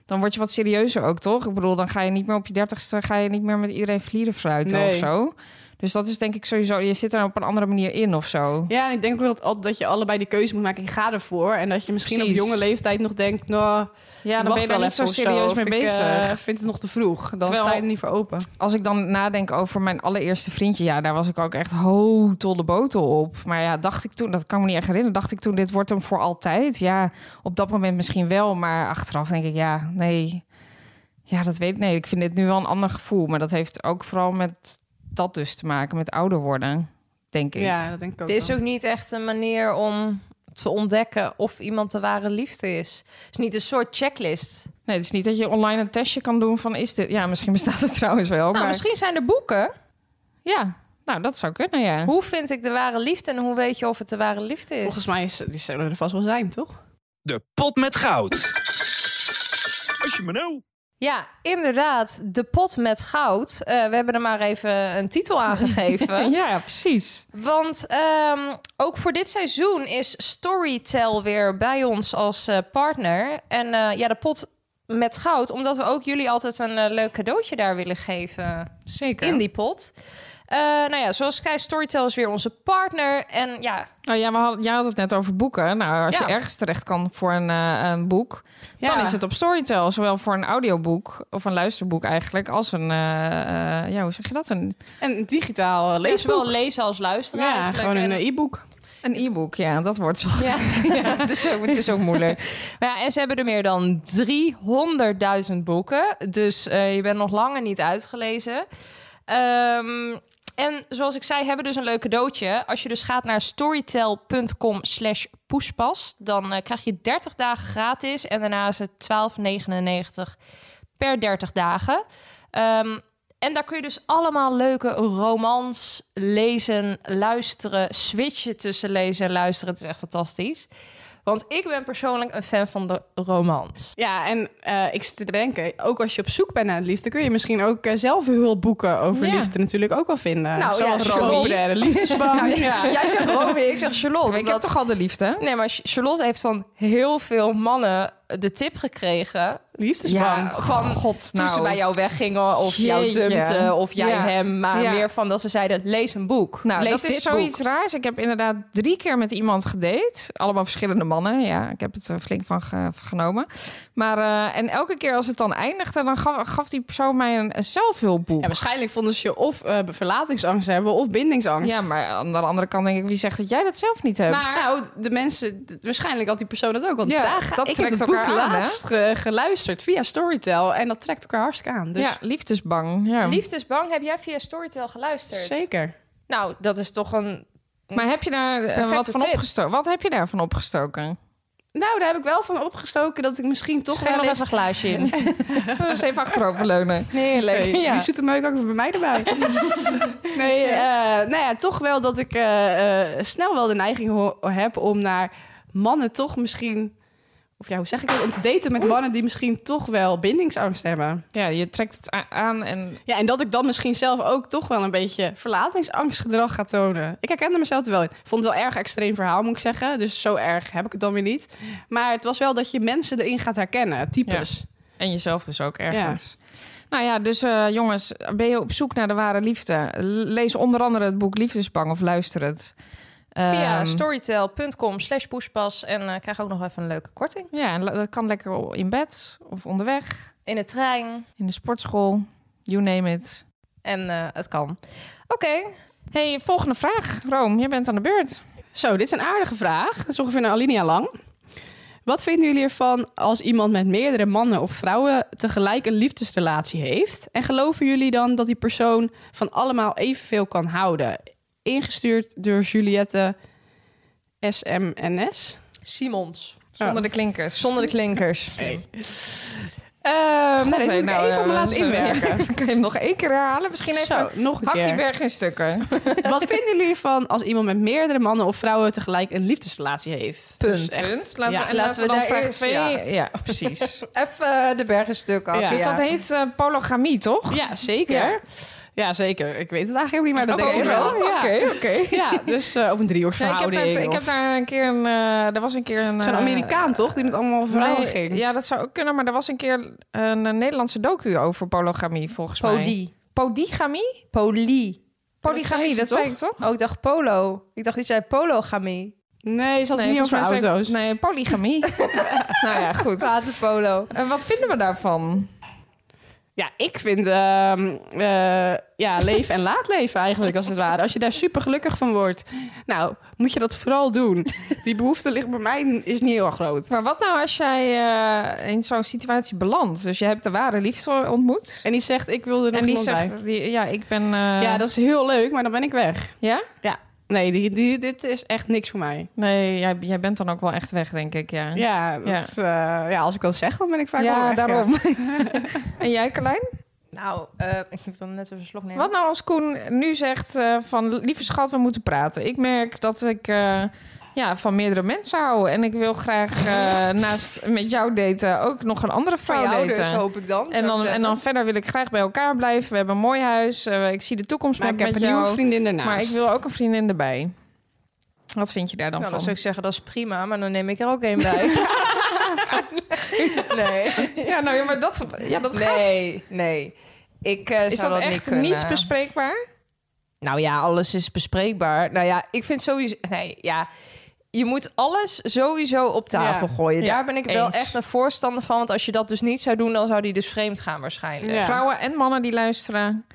Dan word je wat serieuzer ook, toch? Ik bedoel, dan ga je niet meer op je dertigste, ga je niet meer met iedereen vlieren fruiten Nee. of zo. Dus dat is denk ik sowieso, je zit er op een andere manier in of zo. Ja, en ik denk ook dat, al- dat je allebei de keuze moet maken, ik ga ervoor. En dat je misschien Precies. op jonge leeftijd nog denkt, nou, Ja, dan wacht ben je daar wel niet zo even of serieus Of mee ik, bezig. eh, vind het nog te vroeg. Dan Terwijl- sta je er niet voor open. als ik dan nadenk over mijn allereerste vriendje, ja, daar was ik ook echt ho tot de botel op. Maar ja, dacht ik toen, dat kan ik me niet echt herinneren, dacht ik toen, dit wordt hem voor altijd. Ja, op dat moment misschien wel, maar achteraf denk ik, ja, nee. Ja, dat weet ik, nee. Ik vind dit nu wel een ander gevoel, maar dat heeft ook vooral met dat dus te maken, met ouder worden, denk ik. Ja, dat denk ik ook. Er is wel. ook niet echt een manier om te ontdekken of iemand de ware liefde is. Het is niet een soort checklist. Nou, Nee, het is niet dat je online een testje kan doen van, is dit... Ja, misschien bestaat het [laughs] trouwens wel, Nou, maar... misschien zijn er boeken. Ja, nou, dat zou kunnen, ja. Hoe vind ik de ware liefde en hoe weet je of het de ware liefde is? Volgens mij is, die zullen er vast wel zijn, toch? De pot met goud. Als je me nou... Ja, inderdaad. De pot met goud. Eh, we hebben er maar even een titel [laughs] aan gegeven. Ja, precies. Want ehm, ook voor dit seizoen is Storytel weer bij ons als eh, partner. En eh, ja, de pot met goud, omdat we ook jullie altijd een eh, leuk cadeautje daar willen geven Zeker. in die pot. Eh, nou ja, zoals ik zei, Storytel is weer onze partner. En ja, Nou ja, we hadden, jij had het net over boeken. Nou, als Ja. je ergens terecht kan voor een, eh, een boek, Ja. dan is het op Storytel. Zowel voor een audioboek of een luisterboek eigenlijk, als een, eh, eh, ja, hoe zeg je dat? Een, En digitaal eh, lees wel leesboek. lezen als luisteren. Ja, eigenlijk. gewoon een En- eh, e-book. een e-book, ja, dat wordt zo. Ja. [laughs] het, is ook, het is ook moeilijk. Maar ja, en ze hebben er meer dan 300.000 boeken. Dus eh, je bent nog langer niet uitgelezen. Ehm, en zoals ik zei, hebben we dus een leuk cadeautje. Als je dus gaat naar storytel.com slash poespas... dan eh, krijg je 30 dagen gratis. En daarna is het 12,99 per 30 dagen. Ehm, en daar kun je dus allemaal leuke romans lezen, luisteren... switchen tussen lezen en luisteren. Het is echt fantastisch. Want ik ben persoonlijk een fan van de romans. Ja, en eh, ik zit te denken, ook als je op zoek bent naar liefde, kun je misschien ook eh, zelf hulpboeken over Ja. liefde natuurlijk ook wel vinden. Nou, Zoals ja, de Charlotte. Nou, populaire [laughs] liefdesbank. Jij zegt Romy, ik zeg Charlotte. Ik heb omdat- toch al de liefde? Nee, maar Charlotte heeft van heel veel mannen de tip gekregen Liefdesbank. van God, toen nou. ze bij jou weggingen of jou Jeetje. dumpte of jij Ja. hem, maar Ja. meer van dat ze zeiden lees een boek. Nou, lees dat is dit zoiets boek. raars. Ik heb inderdaad drie keer met iemand gedate. Allemaal verschillende mannen. Ja, ik heb het er flink van ge- genomen. Maar eh, en elke keer als het dan eindigde, dan gaf, gaf die persoon mij een, een zelfhulpboek. Ja, waarschijnlijk vonden ze je of eh, verlatingsangst hebben of bindingsangst. Ja, maar aan de andere kant denk ik, wie zegt dat jij dat zelf niet hebt? Maar nou, de mensen, d- waarschijnlijk had die persoon dat ook. Want Ja, daar ga- dat ik trekt heb het boek elkaar aan, hè? laatst eh, geluisterd via Storytel. En dat trekt elkaar hartstikke aan. Dus Ja, liefdesbang. Ja. Liefdesbang heb jij via Storytel geluisterd. zeker. Nou, dat is toch een... Maar heb je daar eh, Perfecte wat van tip. opgestoken? Wat heb je daarvan [laughs] opgestoken? Nou, daar heb ik wel van opgestoken dat ik misschien toch Schenk wel nog eens... even een glaasje in. Dus even achteroverleunen. Nee, leuk. Nee, Die zoete meuk ook even bij mij [laughs] erbij. nee, eh, nou ja, toch wel dat ik eh, eh, snel wel de neiging ho- heb om naar mannen toch misschien... Of ja, hoe zeg ik dat? Om te daten met mannen die misschien toch wel bindingsangst hebben. Ja, je trekt het a- aan en... Ja, en dat ik dan misschien zelf ook toch wel een beetje verlatingsangstgedrag ga tonen. Ik herkende mezelf er wel in. Vond het wel erg extreem verhaal, moet ik zeggen. Dus zo erg heb ik het dan weer niet. Maar het was wel dat je mensen erin gaat herkennen, types. En jezelf dus ook ergens. Nou ja, dus eh, jongens, ben je op zoek naar de ware liefde? L- Lees onder andere het boek Liefdesbang of luister het. Via Ehm, storytel.com slash pushpas en eh, krijg ook nog even een leuke korting. Ja, en la- dat kan lekker in bed of onderweg, In de trein. in de sportschool, you name it. En eh, het kan. Oké, hey, volgende vraag. Room, jij bent aan de beurt. Zo, dit is een aardige vraag. Dat is ongeveer een alinea lang. Wat vinden jullie ervan als iemand met meerdere mannen of vrouwen tegelijk een liefdesrelatie heeft? En geloven jullie dan dat die persoon van allemaal evenveel kan houden? Ingestuurd door Juliette SMNS. Simons. Zonder de klinkers. Oh. Zonder de klinkers. Ehm God, nou, deze hey, moet ik nou, even op me eh, laten zo- inwerken. [laughs] Kan je hem nog één keer herhalen? Misschien even... Zo, nog een Hak die keer. berg in stukken. Wat vinden jullie ervan als iemand met meerdere mannen of vrouwen tegelijk een liefdesrelatie heeft? Dus echt- Punt. Laten, Ja. we, en Laten laten we we dan daar vraag eerst- twee... ja. Ja, Eh, [laughs] precies. Even de bergen stuk af. Ja. dus dat heet eh, polygamie, toch? Ja, zeker. Ja. Ja. zeker. Ik weet het eigenlijk helemaal niet, maar Oké, dat denk ik wel. wel. Ja. Oké, oké. Ja, dus Ja, eh of een ik heb, driehoeksverhouding. dat, ik heb of- daar een keer een... eh, er was een keer een... Zo'n eh, Amerikaan toch, die met allemaal vrouwen nee, ging? Ja, dat zou ook kunnen. Maar er was een keer een, eh, Nederlandse docu over polygamie, volgens mij. Poly. Polygamie? Poly. Polygamie, dat zei ik toch? Oh, ik dacht polo. Ik dacht dat jij pologamie. Nee, ze had het niet volgens over mij zei ik- auto's. Nee, polygamie. [laughs] nou ja, goed. Waterpolo. Eh, wat vinden we daarvan? Ja, ik vind ehm, eh, ja, leven en laat leven eigenlijk, als het ware. Als je daar super gelukkig van wordt, nou, moet je dat vooral doen. Die behoefte ligt bij mij is niet heel erg groot. Maar wat nou als jij eh, in zo'n situatie belandt? Dus je hebt de ware liefde ontmoet. En die zegt, ik wil er nog En die iemand zegt, die, ja, ik ben... eh, bij. Ja, dat is heel leuk, maar dan ben ik weg. ja? Nee, die, die, dit is echt niks voor mij. Nee, jij, jij bent dan ook wel echt weg, denk ik, ja. Ja, dat, eh, ja als ik dat zeg, dan ben ik vaak Ja, wel weg, [laughs] daarom. en jij, Carlijn? Nou, eh, ik wil net even een slok nemen. Wat nou als Koen nu zegt eh, van... Lieve schat, we moeten praten. Ik merk dat ik eh, ja, van meerdere mensen hou. En ik wil graag [laughs] eh, naast met jou daten ook nog een andere Van vrouw je daten. dus ouders dus, hoop ik dan. en, dan, en dan verder wil ik graag bij elkaar blijven. We hebben een mooi huis. eh, ik zie de toekomst Maar met, ik heb met een nieuwe jou. vriendin daarnaast. Maar ik wil ook een vriendin erbij. Wat vind je daar dan Nou, dan van? zou ik zeggen, dat is prima, maar dan neem ik er ook één bij. [laughs] nee. Ja, nou ja, maar dat, ja, dat gaat. Nee, nee. Ik, eh, Is zou dat, niet echt kunnen. niets bespreekbaar? Nou ja, alles is bespreekbaar. Nou ja, ik vind sowieso... Nee, ja... Je moet alles sowieso op tafel Ja. gooien. Ja, Daar ben ik wel eens. echt een voorstander van. Want als je dat dus niet zou doen, dan zou die dus vreemd gaan waarschijnlijk. Ja. Vrouwen en mannen die luisteren,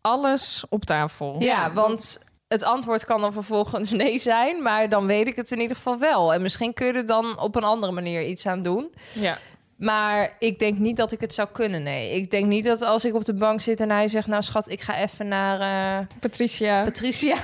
alles op tafel. Ja, want het antwoord kan dan vervolgens [laughs] nee zijn, maar dan weet ik het in ieder geval wel. En misschien kun je er dan op een andere manier iets aan doen. Ja. Maar ik denk niet dat ik het zou kunnen, nee. Ik denk niet dat als ik op de bank zit en hij zegt... nou schat, ik ga even naar eh, Patricia. Patricia.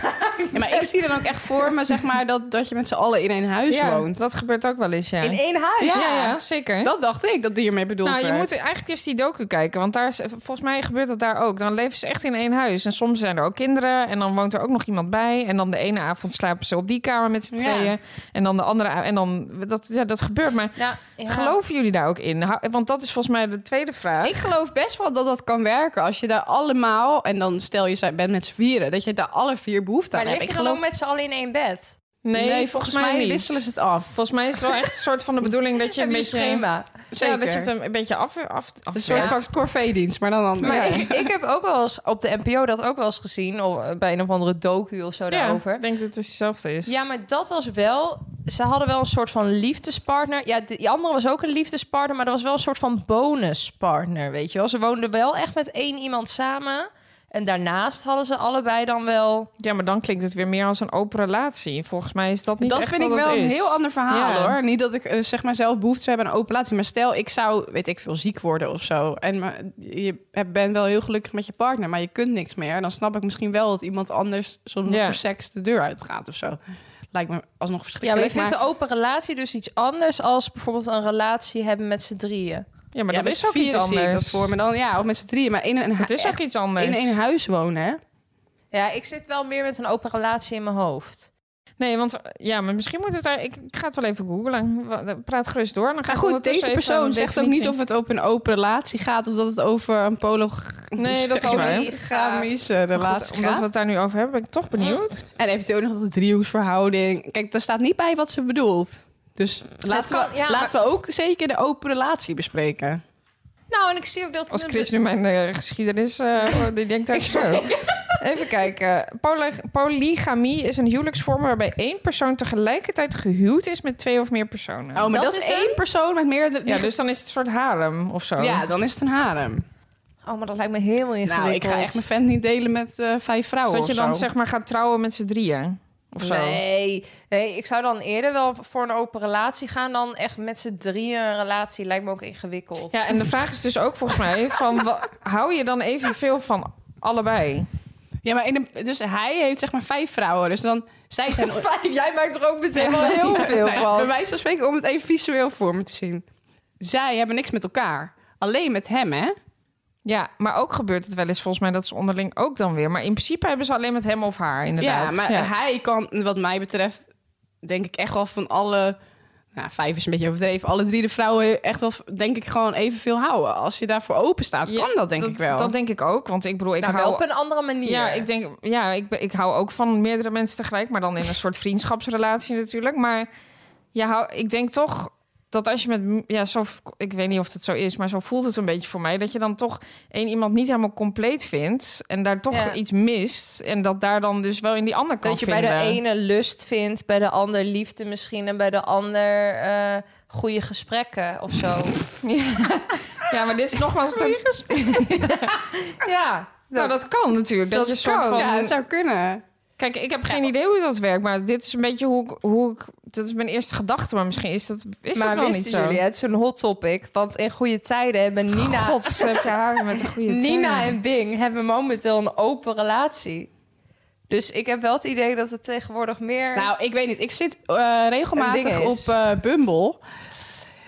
Ja, maar ik zie er dan ook echt voor me, zeg maar, dat, dat je met z'n allen in één huis ja, woont. dat gebeurt ook wel eens, ja. In één huis. ja, ja, zeker. Dat dacht ik, dat die hiermee bedoeld nou, je werd. moet eigenlijk eerst die docu kijken, want daar is, volgens mij gebeurt dat daar ook. Dan leven ze echt in één huis en soms zijn er ook kinderen en dan woont er ook nog iemand bij en dan de ene avond slapen ze op die kamer met z'n Ja. tweeën en dan de andere a- en dan dat ja, dat gebeurt. Maar Nou, ja. geloven jullie daar ook in? Hou- Want dat is volgens mij de tweede vraag. Ik geloof best wel dat dat kan werken. Als je daar allemaal, en dan stel je ze- bent met z'n vieren, dat je daar alle vier behoefte Maar aan hebt. lig je Ik geloof... geloof met z'n allen in één bed? nee, volgens mij niet. wisselen ze het af. Volgens mij is het wel echt een soort van de bedoeling dat je een Heb je beetje schema? Ja, dat je Zeker. het een, een beetje af, af, af Een soort van corvée-dienst, maar dan anders. Maar ik, ik heb ook wel eens op de NPO dat ook wel eens gezien. Of eh, bij een of andere docu of zo ja, daarover. ik denk dat het hetzelfde is. Ja, maar dat was wel... Ze hadden wel een soort van liefdespartner. Ja, die andere was ook een liefdespartner, maar dat was wel een soort van bonuspartner, weet je wel. Ze woonden wel echt met één iemand samen. En daarnaast hadden ze allebei dan wel... Ja, maar dan klinkt het weer meer als een open relatie. Volgens mij is dat niet dat echt vind ik wat wel het een is. heel ander verhaal Ja. hoor. Niet dat ik eh, zeg maar zelf behoefte zou hebben aan open relatie. Maar stel, ik zou, weet ik veel, ziek worden of zo. En maar, je hebt- bent wel heel gelukkig met je partner, maar je kunt niks meer. Dan snap ik misschien wel dat iemand anders soms nog Ja. voor seks de deur uitgaat of zo. Lijkt me alsnog Ja, maar je verschrikkelijk. vindt een open relatie dus iets anders... als bijvoorbeeld een relatie hebben met z'n drieën. Ja, maar Ja, dat met is ook z'n iets vieren zie ik anders. Dat voor me dan, ja, of met z'n drieën. Maar in een, hu- Het is ook echt iets anders. in één huis wonen, hè? Ja, ik zit wel meer met een open relatie in mijn hoofd. Nee, want ja, maar misschien moet het. daar- Ik, ik ga het wel even googlen. Wa- eh, Praat gerust door. Dan ga Maar ik goed, ondertussen deze even een persoon zegt ook niet definitie- of het over een open relatie gaat... of dat het over een polo... Dus Nee, dat is waar. Maar polygamische Goed, relatie omdat we gaat. het daar nu over hebben, ben ik toch benieuwd. En eventueel nog de driehoeksverhouding. Kijk, daar staat niet bij wat ze bedoelt. Dus laten, kan- we, ja, laten we ook zeker de open relatie bespreken. Nou, en ik zie ook dat... dus- Als dus- Chris nu mijn eh, geschiedenis, eh, voor- die denkt daar zo. Even kijken. Poly- polygamie is een huwelijksvorm waarbij één persoon tegelijkertijd gehuwd is met twee of meer personen. Oh, maar dat, Dat is is één persoon met meerdere... Ja, dus dan is het een soort harem of zo. Ja, dan is het een harem. Oh, maar dat lijkt me helemaal ingewikkeld. Nou, ik ga echt mijn vent niet delen met eh, vijf vrouwen Zodat Dus je of dan zo. zeg maar gaat trouwen met z'n drieën. Of zo. Nee, nee, ik zou dan eerder wel voor een open relatie gaan dan echt met z'n drieën een relatie. Lijkt me ook ingewikkeld. Ja, en de vraag is dus ook volgens mij: van, wa- hou je dan evenveel van allebei? Ja, maar in een, dus hij heeft zeg maar vijf vrouwen. Dus dan, zij zijn... [laughs] Vijf, jij maakt er ook meteen [laughs] wel heel veel Nee, Bij wijze van spreken, om het even visueel voor me te zien. Zij hebben niks met elkaar. Alleen met hem, hè? Ja, maar ook gebeurt het wel eens volgens mij dat ze onderling ook dan weer. Maar in principe hebben ze alleen met hem of haar, inderdaad. Ja, maar hij kan, wat mij betreft, denk ik echt wel van alle... Nou, vijf is een beetje overdreven. Alle drie de vrouwen echt wel, denk ik, gewoon evenveel houden. Als je daarvoor open staat, Ja, kan dat denk ik wel. Dat denk ik ook, want ik bedoel, ik Nou, wel hou. op een andere manier. ja, ik denk, ja, ik, ben- ik hou ook van meerdere mensen tegelijk, maar dan in een soort vriendschapsrelatie natuurlijk. Maar je hou, ik denk toch dat als je met, m- ja, zo, ik weet niet of het zo is, maar zo voelt het een beetje voor mij, dat je dan toch één iemand niet helemaal compleet vindt en daar toch Ja. iets mist en dat daar dan dus wel in die ander kan dat je bij vinden. de ene lust vindt, bij de ander liefde misschien en bij de ander eh, goede gesprekken of zo. Ja, maar dit is nogmaals een... [laughs] ja, Nou, dat kan natuurlijk. Dat, Dat je een soort kan, van... Ja, het zou kunnen. Kijk, ik heb geen idee hoe dat werkt, maar dit is een beetje hoe ik, hoe ik... Dit is mijn eerste gedachte, maar misschien is dat, is maar dat wel wisten niet zo. jullie, het is een hot topic, want in goede tijden hebben Nina, God, heb je haar met een goede [laughs] Nina tenen. en Bing hebben momenteel een open relatie. Dus ik heb wel het idee dat het tegenwoordig meer... Nou, ik weet niet. Ik zit eh, regelmatig Een ding is. op eh, Bumble.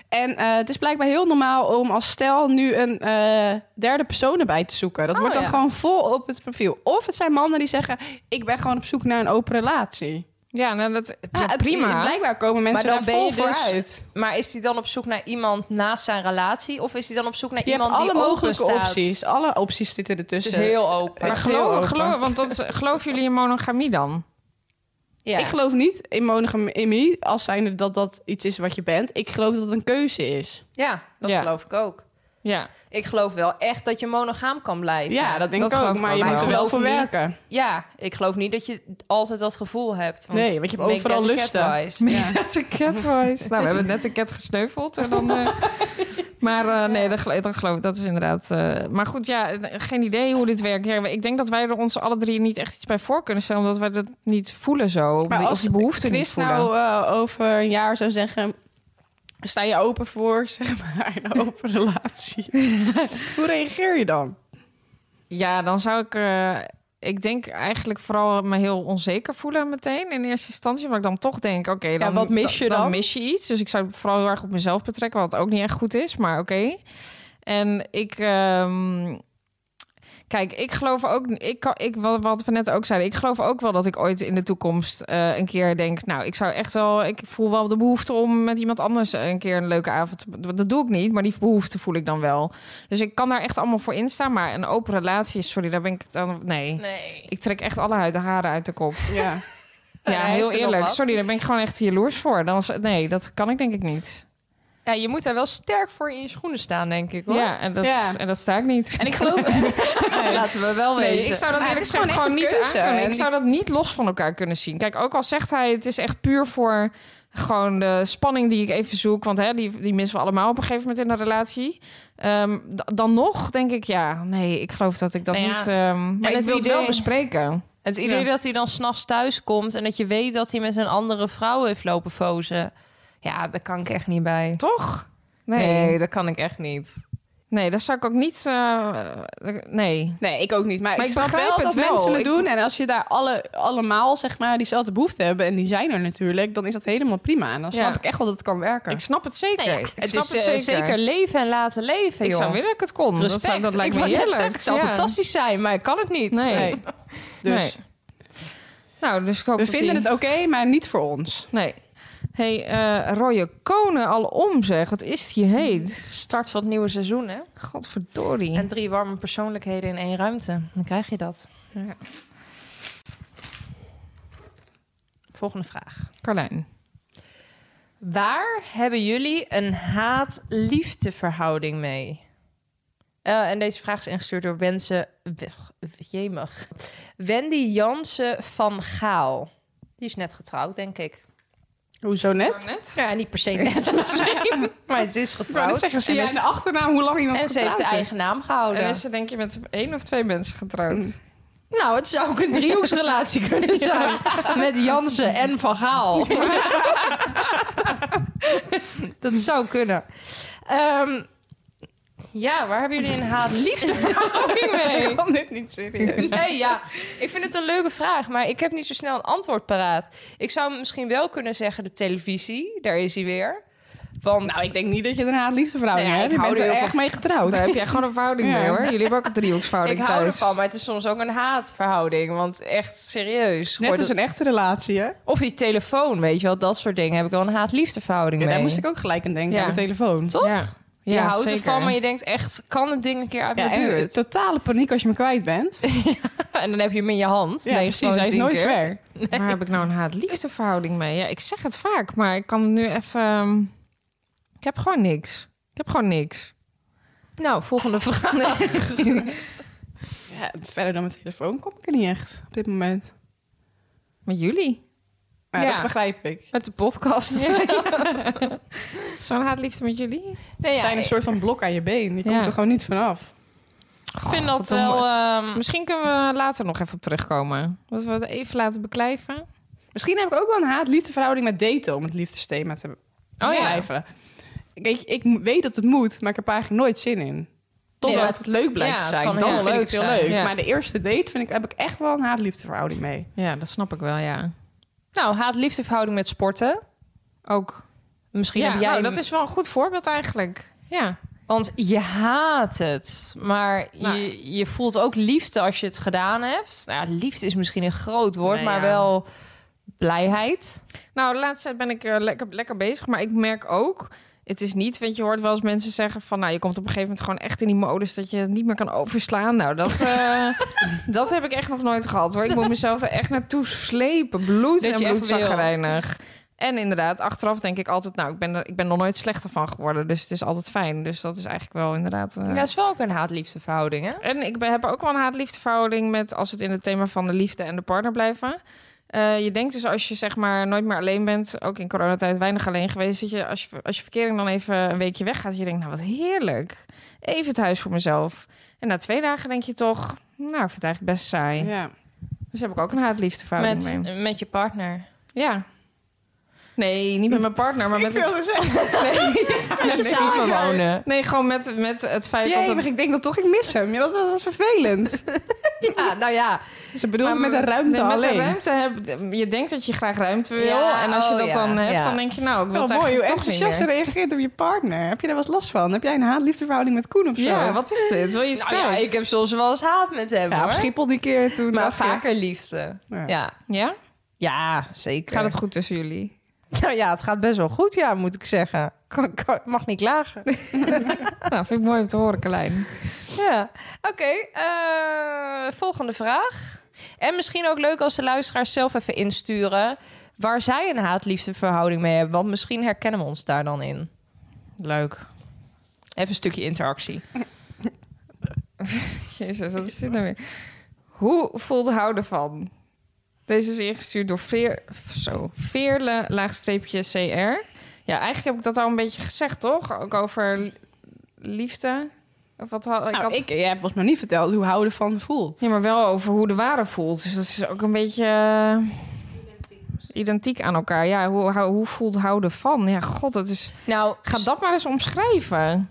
En eh, het is blijkbaar heel normaal om als stel nu een eh, derde persoon erbij te zoeken. Dat Oh, wordt dan ja. gewoon vol op het profiel. Of het zijn mannen die zeggen: Ik ben gewoon op zoek naar een open relatie. Ja, nou, dat Ja, het- prima. Ah, Blijkbaar komen mensen Maar daar dan ben vol je voor dus- uit. Maar is hij dan op zoek naar iemand naast zijn relatie? Of is hij dan op zoek naar Je hebt iemand alle die open mogelijke staat? opties. Alle opties zitten Het ertussen. is heel open. maar het is heel geloof, open. geloof, want dat [laughs] is- geloven jullie in monogamie dan? ja. Ik geloof niet in monogamie als zijnde dat dat iets is wat je bent. Ik geloof dat het een keuze is. ja, dat Ja. geloof ik ook. Ja. Ik geloof wel echt dat je monogaam kan blijven. Ja, dat denk dat ik geloof ook. ik Maar ook je wel. moet er Ik wel geloof voor niet- werken. Ja, ik geloof niet dat je altijd dat gevoel hebt. Want Nee, want je hebt make overal that a lusten. [laughs] catwise. Ja. Met de catwise. Nou, we hebben net de cat gesneuveld. En dan, eh, [laughs] Maar eh, nee, dat, gel- dat geloof ik. Dat is inderdaad... eh, maar goed, ja, eh, geen idee hoe dit werkt. Ja, ik denk dat wij er ons alle drie niet echt iets bij voor kunnen stellen... omdat wij dat niet voelen zo. of die- of die behoefte niet Chris voelen. nou eh, over een jaar zou zeggen... Sta je open voor, [laughs] zeg maar, een open [laughs] relatie? Hoe reageer je dan? Ja, dan zou ik. eh, ik denk eigenlijk vooral me heel onzeker voelen meteen in eerste instantie. Maar ik dan toch denk, oké, dan, wat mis je dan? Dan mis je iets. Dus ik zou het vooral heel erg op mezelf betrekken, wat ook niet echt goed is, maar oké. En ik. ehm, Kijk, ik geloof ook, ik kan, ik, wat, wat we net ook zeiden, ik geloof ook wel dat ik ooit in de toekomst eh, een keer denk, nou, ik zou echt wel, ik voel wel de behoefte om met iemand anders een keer een leuke avond. te- Dat doe ik niet, maar die behoefte voel ik dan wel. Dus ik kan daar echt allemaal voor instaan, maar een open relatie, sorry, daar ben ik dan, nee. Nee. Ik trek echt alle huid, haren uit de [laughs] kop. Ja. Ja, heeft heel er nog eerlijk. wat. Sorry, daar ben ik gewoon echt jaloers voor. Dan was, nee, dat kan ik denk ik niet. Ja, je moet daar wel sterk voor in je schoenen staan, denk ik hoor. Ja, en dat, Ja. En dat sta ik niet. En ik geloof... [laughs] Nee, Laten we wel Nee, wezen. ik zou dat Maar eerlijk het is gezegd gewoon gewoon echt niet een keuze. aankunnen. En Ik die- zou dat niet los van elkaar kunnen zien. Kijk, ook al zegt hij, het is echt puur voor gewoon de spanning die ik even zoek. Want hè, die, die missen we allemaal op een gegeven moment in een relatie. Ehm, d- dan nog denk ik, ja, nee, ik geloof dat ik dat Nou ja, niet... ehm maar ik en het wil het wel idee- bespreken. Het idee Ja. dat hij dan s'nachts thuis komt en dat je weet dat hij met een andere vrouw heeft lopen fozen. Ja, daar kan ik echt niet bij. Toch? Nee. Nee, nee. dat kan ik echt niet. dat zou ik ook niet... eh, nee. Nee, ik ook niet. Maar, Maar ik ik snap begrijp wel het dat wel. mensen het Ik- doen. En als je daar alle, allemaal zeg maar, diezelfde behoefte hebben... en die zijn er natuurlijk, dan is dat helemaal prima. En dan snap Ja. ik echt wel dat het kan werken. Ik snap het zeker. Nee, ja, ik het snap is het eh, zeker. zeker. leven en laten leven, Ik joh. zou willen dat ik het kon. Dat, zou, Respect. dat lijkt ik me wou net heerlijk. zeggen, het zou Ja. fantastisch zijn, maar ik kan het niet. Nee. Nee. Dus Nee. Nou, dus ik hoop we dat vinden die- het oké, maar niet voor ons. Nee. hey, eh, rode konen al om zeg. Wat is die heet? [laughs] Start van het nieuwe seizoen, hè? Godverdorie. En drie warme persoonlijkheden in één ruimte. Dan krijg je dat. Ja. Volgende vraag. Carlijn. Waar hebben jullie een haat-liefdeverhouding mee? Eh, en deze vraag is ingestuurd door Wensen... Weg- Jemig. Wendy Jansen van Gaal. Die is net getrouwd, denk ik. Hoezo net? Ja, niet per se [laughs] net misschien. maar ze is Ik wou net getrouwd. zeggen, zie en dus jij is- de achternaam hoe lang iemand en ze heeft de getrouwd is? eigen naam gehouden. En is ze denk je met één of twee mensen getrouwd? Nou, het zou ook een driehoeksrelatie [laughs] kunnen zijn. Met Jansen en Van Gaal. [laughs] dat zou kunnen. Ehm, ja, waar hebben jullie een [laughs] haat-liefdeverhouding [laughs] mee? Ik kan dit niet serieus. Nee, ja. Ik vind het een leuke vraag, maar ik heb niet zo snel een antwoord paraat. Ik zou misschien wel kunnen zeggen de televisie. Daar is hij weer. Want nou, ik denk niet dat je er een liefde vrouw Nee, ik hebt. Je hou bent er er heel echt veel- mee getrouwd. [laughs] Daar heb jij gewoon een verhouding Ja. mee hoor. Jullie hebben ook een driehoeksverhouding [laughs] ik hou thuis. ervan, maar het is soms ook een haatverhouding. Want echt serieus. Net Wordt als het- een echte relatie, hè? Ja, Of je telefoon, weet je wel. Dat soort dingen heb ik wel een haat-liefdeverhouding mee. daar moest ik ook gelijk aan denken, Ja. aan de telefoon. Toch? Ja, Je ja houdt zeker. ervan, maar je denkt echt, kan het ding een keer uit Ja, mijn en buurt? totale paniek als je me kwijt bent. [laughs] En dan heb je hem in je hand. Ja, Nee, precies. Hij is nooit ver. [laughs] Waar heb ik nou een haat-liefdeverhouding mee? Ja, ik zeg het vaak, maar ik kan nu even... ehm, Ik heb gewoon niks. Ik heb gewoon niks. Nou, volgende vraag. [laughs] Ja, verder dan mijn telefoon kom ik er niet echt op dit moment. Met jullie. Maar Ja. dat begrijp ik. Met de podcast. Ja. Zo'n haatliefde met jullie? Nee, Er zijn een soort van blok aan je been. Je Ja. komt er gewoon niet vanaf. ik vind dat Goddomme. wel... ehm, Misschien kunnen we later nog even op terugkomen. Dat we het even laten beklijven. Misschien heb ik ook wel een haat-liefdeverhouding met daten om het liefdesthema te Oh ja. blijven. Ik, ik weet dat het moet, maar ik heb er eigenlijk nooit zin in. Totdat Nee, maar het leuk blijkt ja, te het zijn. kan Dan heel vind leuk ik het heel zijn. leuk. Ja. Maar de eerste date vind ik, heb ik echt wel een haat-liefdeverhouding mee. Ja, dat snap ik wel, ja. Nou, haat-liefdeverhouding met sporten. Ook. Misschien ja, heb jij... nou, dat is wel een goed voorbeeld eigenlijk. Ja. Want je haat het, maar Nou. je, je voelt ook liefde als je het gedaan hebt. Nou, ja, liefde is misschien een groot woord, Nee, maar ja. wel blijheid. Nou, de laatste tijd ben ik eh, lekker, lekker bezig. Maar ik merk ook, het is niet... Want je hoort wel eens mensen zeggen van... Nou, je komt op een gegeven moment gewoon echt in die modus... dat je het niet meer kan overslaan. Nou, dat, [laughs] eh, dat heb ik echt nog nooit gehad, hoor. Ik moet mezelf er echt naartoe slepen. Bloed Dat en je echt bloedzagrijnig. En inderdaad, achteraf denk ik altijd... Nou, ik ben er, ik ben er nooit slechter van geworden. Dus het is altijd fijn. Dus dat is eigenlijk wel inderdaad... eh, Ja, dat is wel ook een haat-liefdeverhouding, hè? En ik ben- heb ook wel een haat-liefdeverhouding met als we het in het thema van de liefde en de partner blijven. Eh, je denkt dus als je zeg maar nooit meer alleen bent, ook in coronatijd weinig alleen geweest, dat je als je, als je verkering dan even een weekje weggaat, je denkt, nou wat heerlijk, even het huis voor mezelf. En na twee dagen denk je toch, nou ik vind het eigenlijk best saai. Ja. Dus heb ik ook een haat-liefdeverhouding Met, mee. met je partner. Ja. Nee, niet met mijn partner, maar met het [laughs] Met samenwonen. Nee, gewoon met, met het feit dat... Jee, het- maar ik denk dat toch, ik mis hem. Ja, want dat was [laughs] vervelend. ja, nou ja. Ze bedoelde maar met een ruimte met alleen. Een ruimte heb, je denkt dat je graag ruimte wil. Ja, en als je oh dat ja, dan hebt, ja. dan denk je, nou, ik wil Wel het Oh, mooi hoe eigenlijk toch niet enthousiast ze meer. reageert op je partner. Heb je daar wel eens last van? Heb jij een haat-liefdeverhouding met Koen of zo? Ja, wat is dit? Wil je [laughs] iets Nou ja, kwijt? ik heb soms wel eens haat met hem, Ja, op hoor. Schiphol die keer toen. maar afgelopen- vaker liefde. Ja. Ja. Ja? ja, zeker. Gaat het goed tussen jullie? Nou ja, het gaat best wel goed, ja, moet ik zeggen. Kan- kan- mag niet klagen. Nou, vind ik mooi om te horen, Carlijn. Ja, oké. eh, volgende vraag. En misschien ook leuk als de luisteraars zelf even insturen... waar zij een haat-liefde verhouding mee hebben. Want misschien herkennen we ons daar dan in. Leuk. Even een stukje interactie. Jezus, wat is dit nou weer? Hoe voelt houden van? Deze is ingestuurd door Veer, zo, Veerle, laagstreepje CR. Ja, eigenlijk heb ik dat al een beetje gezegd, toch? Ook over li- liefde. Of wat had, ik Nou, had... ik, jij hebt volgens mij niet verteld hoe houden van voelt. Ja, maar wel over hoe de ware voelt. Dus dat is ook een beetje eh, identiek aan elkaar. Ja, hoe, hou- hoe voelt houden van? Ja, god, dat is... Nou, Ga dat maar eens omschrijven.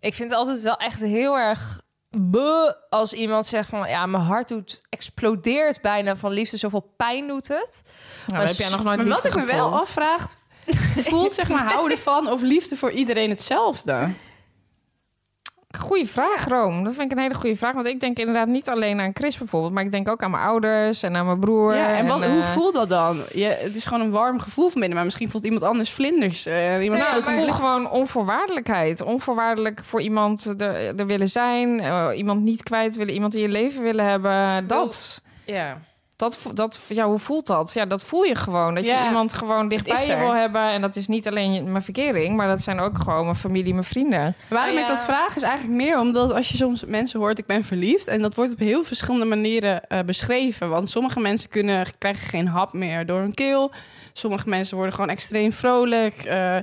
Ik vind het altijd wel echt heel erg buh als iemand zegt van ja, mijn hart doet explodeert bijna van liefde, zoveel pijn doet het. Nou, Maar heb jij zo- nog nooit Maar wat liefde ik me wel gevoeld? [laughs] afvraagt, voelt zeg maar houden van of liefde voor iedereen hetzelfde? Goeie vraag, Room. Dat vind ik een hele goede vraag. Want ik denk inderdaad niet alleen aan Chris bijvoorbeeld. Maar ik denk ook aan mijn ouders en aan mijn broer. Ja, en wat, hoe eh, voelt dat dan? Je, het is gewoon een warm gevoel van binnen, maar misschien voelt iemand anders vlinders. eh, iemand Nou, voelt ik voel gewoon onvoorwaardelijkheid. Onvoorwaardelijk voor iemand er, er willen zijn. eh, iemand niet kwijt willen. Iemand in je leven willen hebben. Dat... ja. Dat, vo- dat, ja, hoe voelt dat? Ja, dat voel je gewoon. Dat Ja. je iemand gewoon dichtbij is je er. wil hebben. En dat is niet alleen je- mijn verkering, maar dat zijn ook gewoon mijn familie, mijn vrienden. Waarom Ah, ik ja. dat vraag is eigenlijk meer omdat als je soms mensen hoort ik ben verliefd en dat wordt op heel verschillende manieren eh, beschreven. Want sommige mensen kunnen, krijgen geen hap meer door hun keel. Sommige mensen worden gewoon extreem vrolijk. Eh,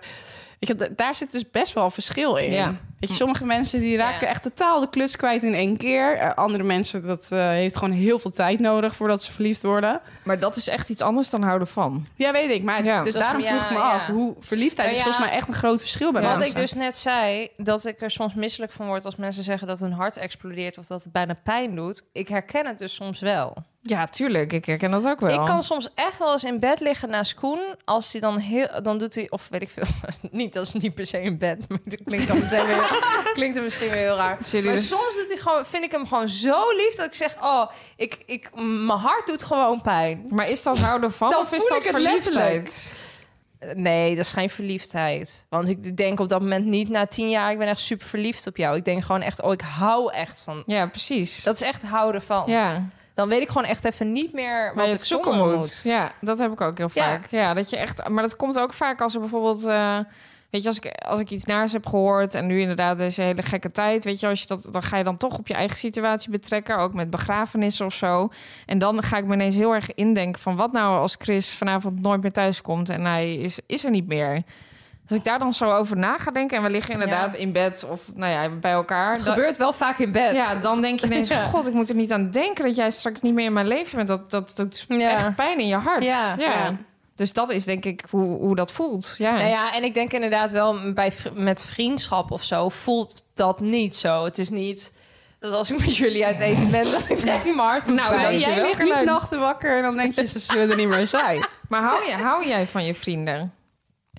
weet je, d- daar zit dus best wel een verschil in. Ja. Weet je, sommige mensen die raken Ja. echt totaal de kluts kwijt in één keer. Eh, andere mensen dat eh, heeft gewoon heel veel tijd nodig voordat ze verliefd worden. Maar dat is echt iets anders dan houden van. Ja, weet ik. Maar Ja. dus Dat is- daarom ja, vroeg ik me ja. af hoe verliefdheid Nou is ja, volgens mij echt een groot verschil bij Ja. Wat mensen. ik dus net zei, dat ik er soms misselijk van word als mensen zeggen dat hun hart explodeert of dat het bijna pijn doet. Ik herken het dus soms wel. Ja, tuurlijk. Ik herken dat ook wel. Ik kan soms echt wel eens in bed liggen naast Koen. Als hij dan heel, dan doet hij, of weet ik veel, [laughs] niet, dat is niet per se in bed, maar dat klinkt dan meteen weer, [laughs] klinkt er misschien weer heel raar. Zullen Maar jullie- soms doet hij gewoon, vind ik hem gewoon zo lief dat ik zeg, oh, ik, ik, mijn hart doet gewoon pijn. Maar is dat houden van Dan of is voel dat ik het verliefdheid? letterlijk. Nee, dat is geen verliefdheid. Want ik denk op dat moment niet na tien jaar, ik ben echt super verliefd op jou. Ik denk gewoon echt, oh, ik hou echt van. Ja, precies. Dat is echt houden van. ja, Dan weet ik gewoon echt even niet meer waar wat je ik het zoeken zonder moet. Ja, dat heb ik ook heel Ja. vaak. Ja, dat je echt, maar dat komt ook vaak als er bijvoorbeeld... eh, Weet je, als ik, als ik iets naars heb gehoord en nu inderdaad deze hele gekke tijd, weet je, als je dat, dan ga je dan toch op je eigen situatie betrekken, ook met begrafenissen of zo. En dan ga ik me ineens heel erg indenken van wat nou als Chris vanavond nooit meer thuis komt en hij is, is er niet meer. Dus ik daar dan zo over na ga denken en we liggen inderdaad in bed of nou ja, bij elkaar. Het dan- gebeurt wel vaak in bed. ja, dan [laughs] [laughs] denk je ineens, god, ik moet er niet aan denken dat jij straks niet meer in mijn leven bent. Dat, dat doet Ja. echt pijn in je hart. Ja. Ja. Dus dat is denk ik hoe, hoe dat voelt. Ja. Nou ja, en ik denk inderdaad wel bij, vri- met vriendschap of zo voelt dat niet zo. Het is niet dat als ik met jullie uit eten ben, dat ik denk, maar toen Nou, pijn. weet je Jij wel, ligt niet Carlijn. nachten wakker en dan denk je, ze zullen er niet meer [laughs] zijn. Maar hou, je, hou jij van je vrienden?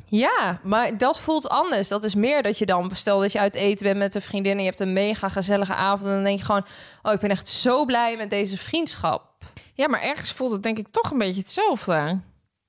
Ja, maar dat voelt anders. Dat is meer dat je dan, stel dat je uit eten bent met een vriendin en je hebt een mega gezellige avond. En dan denk je gewoon, oh, ik ben echt zo blij met deze vriendschap. Ja, maar ergens voelt het denk ik toch een beetje hetzelfde.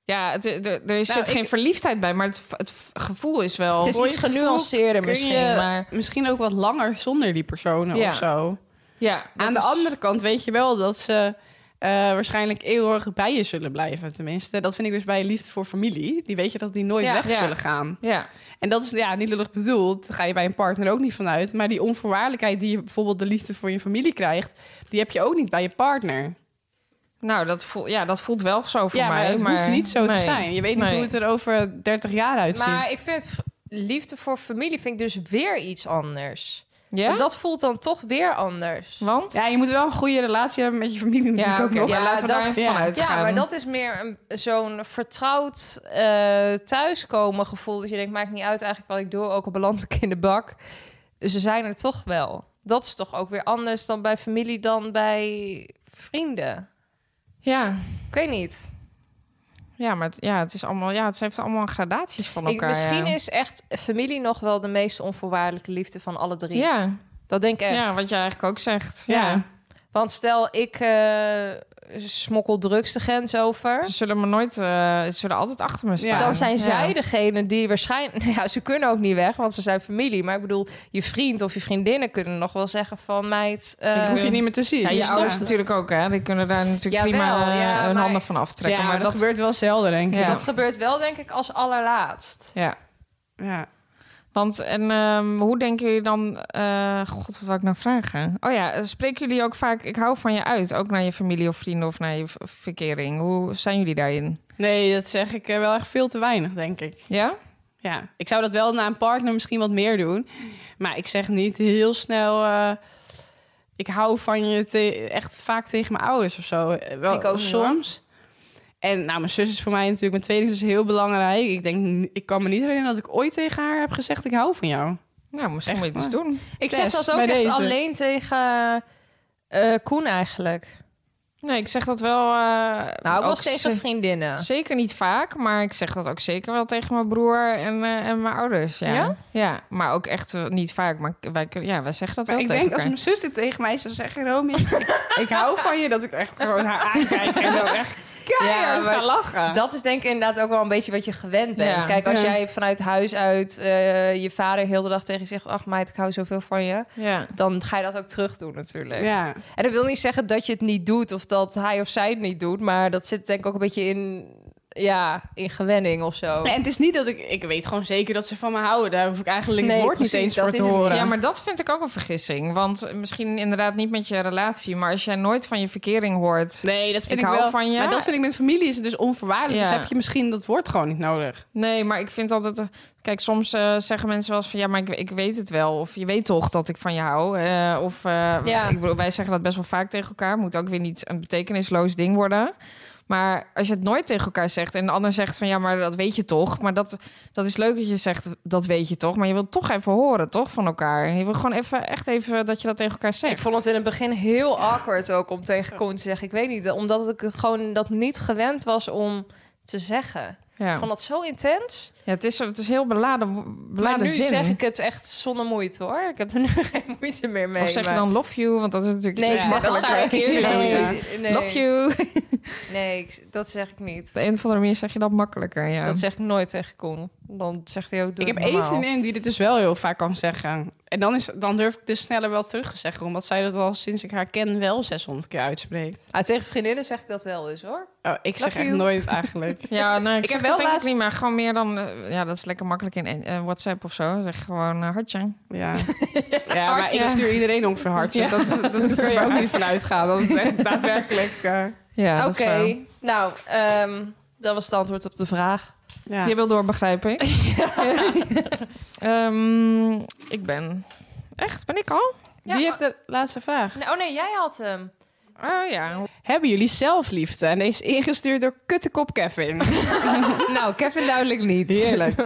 Ja, het, er, er er zit Nou, ik- geen verliefdheid bij, maar het, v- het v- gevoel is wel... Het is Voor iets je gevoel genuanceerder kun misschien, je maar... Misschien ook wat langer zonder die personen Ja. of zo. ja, dat Aan de is- andere kant weet je wel dat ze eh, waarschijnlijk eeuwig bij je zullen blijven. Tenminste, dat vind ik dus bij liefde voor familie. Die weet je dat die nooit Ja. weg Ja. zullen gaan. Ja, En dat is ja, niet lullig bedoeld. Daar ga je bij een partner ook niet vanuit. Maar die onvoorwaardelijkheid die je bijvoorbeeld de liefde voor je familie krijgt... die heb je ook niet bij je partner. nou, dat, voelt ja, dat voelt wel zo voor ja, mij. maar het maar hoeft niet zo nee. te zijn. Je weet niet Nee. hoe het er over 30 jaar uitziet. Maar ik vind v- liefde voor familie vind ik dus weer iets anders. Ja? Dat voelt dan toch weer anders. Want? Ja, je moet wel een goede relatie hebben met je familie natuurlijk Ja, ook oké. nog. Ja, laten we daar even ja. van uitgaan. Ja, maar dat is meer een- zo'n vertrouwd eh, thuiskomen gevoel. Dat je denkt, maakt niet uit eigenlijk wat ik doe. Ook al beland ik in de bak. Dus Ze zijn er toch wel. Dat is toch ook weer anders dan bij familie dan bij vrienden. Ja, Ik weet niet. ja maar het, ja, het, is allemaal, ja, het heeft allemaal gradaties van Ik, elkaar. misschien ja. is echt familie nog wel de meest onvoorwaardelijke liefde van alle drie. Ja, Dat denk ik echt. ja, wat jij eigenlijk ook zegt. Ja. Ja. Want stel, ik eh, smokkel drugs de grens over. Ze zullen me nooit, eh, ze zullen altijd achter me staan. Ja. Dan zijn Ja. zij degene die waarschijnlijk... Nou [laughs] ja, ze kunnen ook niet weg, want ze zijn familie. Maar ik bedoel, je vriend of je vriendinnen kunnen nog wel zeggen van... Meid, eh, Ik hoef je niet meer te zien. Dus Ja, je Ja. ouders Ja. natuurlijk ook, hè? Die kunnen daar natuurlijk Jawel, prima eh, ja, hun maar- handen van aftrekken. Ja, maar dat, gebeurt wel zelden, denk ik. Ja. dat gebeurt wel, denk ik, als allerlaatst. ja. Ja. Want en ehm, hoe denken jullie dan? eh, God, wat wil ik nou vragen? Oh ja, eh, spreken jullie ook vaak? Ik hou van je uit, ook naar je familie of vrienden of naar je v- verkering. Hoe zijn jullie daarin? Nee, dat zeg ik eh, wel echt veel te weinig, denk ik. Ja, Ja, ik zou dat wel na een partner misschien wat meer doen. Maar ik zeg niet heel snel... eh, ik hou van je te- echt vaak tegen mijn ouders of zo. Eh, Wel, Ik ook niet, soms. En nou, mijn zus is voor mij natuurlijk... Mijn tweede zus heel belangrijk. Ik, denk, ik kan me niet herinneren dat ik ooit tegen haar heb gezegd... ik hou van jou. nou misschien Echt moet je het eens doen. Ik zeg Tess, dat ook bij echt deze. alleen tegen eh, Koen eigenlijk. Nee, ik zeg dat wel. eh, Nou, ook wel ze- tegen vriendinnen. Zeker niet vaak, maar ik zeg dat ook zeker wel tegen mijn broer en, eh, en mijn ouders. Ja. Ja? ja, maar ook echt eh, niet vaak. Maar wij, kun- ja, wij zeggen dat Maar wel ik tegen denk als elkaar. mijn zus dit tegen mij zou zeggen... Romy, ik, ik hou van je... dat ik echt gewoon haar aankijk en dan echt keihard Ja, ga maar lachen. Dat is denk ik inderdaad ook wel een beetje wat je gewend bent. Ja. Kijk, als Ja. jij vanuit huis uit eh, je vader heel de dag tegen je zegt... ach meid, ik hou zoveel van je. Ja. Dan ga je dat ook terug doen natuurlijk. ja. En dat wil niet zeggen dat je het niet doet of dat hij of zij het niet doet. Maar dat zit denk ik ook een beetje in, ja, in gewenning of zo. Nee, en het is niet dat ik... Ik weet gewoon zeker dat ze van me houden. Daar hoef ik eigenlijk Nee, het woord precies, niet eens dat voor is te het niet. horen. Ja, maar dat vind ik ook een vergissing. Want misschien inderdaad niet met je relatie, maar als jij nooit van je verkering hoort. Nee, dat vind Ik ik, hou wel. van je. Maar dat vind ik met familie is het dus onvoorwaardelijk. Ja. Dus heb je misschien dat woord gewoon niet nodig. Nee, maar ik vind altijd. eh, Kijk, soms eh, zeggen mensen wel eens van ja, maar ik, ik weet het wel. Of je weet toch dat ik van je hou. Eh, of eh, Ja. ik bedoel, wij zeggen dat best wel vaak tegen elkaar. Moet ook weer niet een betekenisloos ding worden. Maar als je het nooit tegen elkaar zegt en de ander zegt van ja, maar dat weet je toch. Maar dat, dat is leuk dat je zegt dat weet je toch. Maar je wilt toch even horen, toch van elkaar. En je wil gewoon even, echt even dat je dat tegen elkaar zegt. Ik vond het in het begin heel awkward ook om tegen Koen te zeggen. Ik weet niet, omdat ik het gewoon dat niet gewend was om te zeggen. ja. Ik vond dat zo intens. Ja, het is, het is heel beladen, Maar beladen nu zin. zeg ik het echt zonder moeite hoor. Ik heb er nu [laughs] geen moeite meer mee. of zeg je maar- dan love you, want dat is natuurlijk... Nee, iets ik zeg dat zou ik makkelijker. eerder Ja, doen. precies. Nee, nee. Love you. Op Nee, ik- dat zeg ik niet. de een of andere manier zeg je dat makkelijker, ja. Dat zeg ik nooit tegen Koen. Dan zegt hij ook, doe ik heb het één normaal. vriendin die dit dus wel heel vaak kan zeggen. En dan, is, dan durf ik dus sneller wel terug te zeggen. Omdat zij dat al sinds ik haar ken wel 600 keer uitspreekt. Ah, tegen vriendinnen zeg ik dat wel eens hoor. Oh, ik zeg Love echt you. nooit eigenlijk. [laughs] Ja, nee, ik, Ik zeg heb wel dat denk ik laatst- niet, maar gewoon meer dan... eh, ja, dat is lekker makkelijk in eh, WhatsApp of zo. Zeg gewoon eh, hartje. Ja, ja maar Ja. ik stuur iedereen ongeveer hartjes. Ja. Dat, dat, dat kun je ook niet vanuit gaan. Dat het echt daadwerkelijk... eh, Ja, dat Oké, is wel- nou, ehm, dat was het antwoord op de vraag. ja. Je wil door, begrijp [laughs] ik. Ehm, ik ben... Echt, ben ik al? Ja, Wie heeft de laatste vraag? Nee, oh nee, jij had hem. Oh ja. Hebben jullie zelfliefde? En deze is ingestuurd door Kuttekop Kevin. nou, Kevin duidelijk niet. Heerlijk.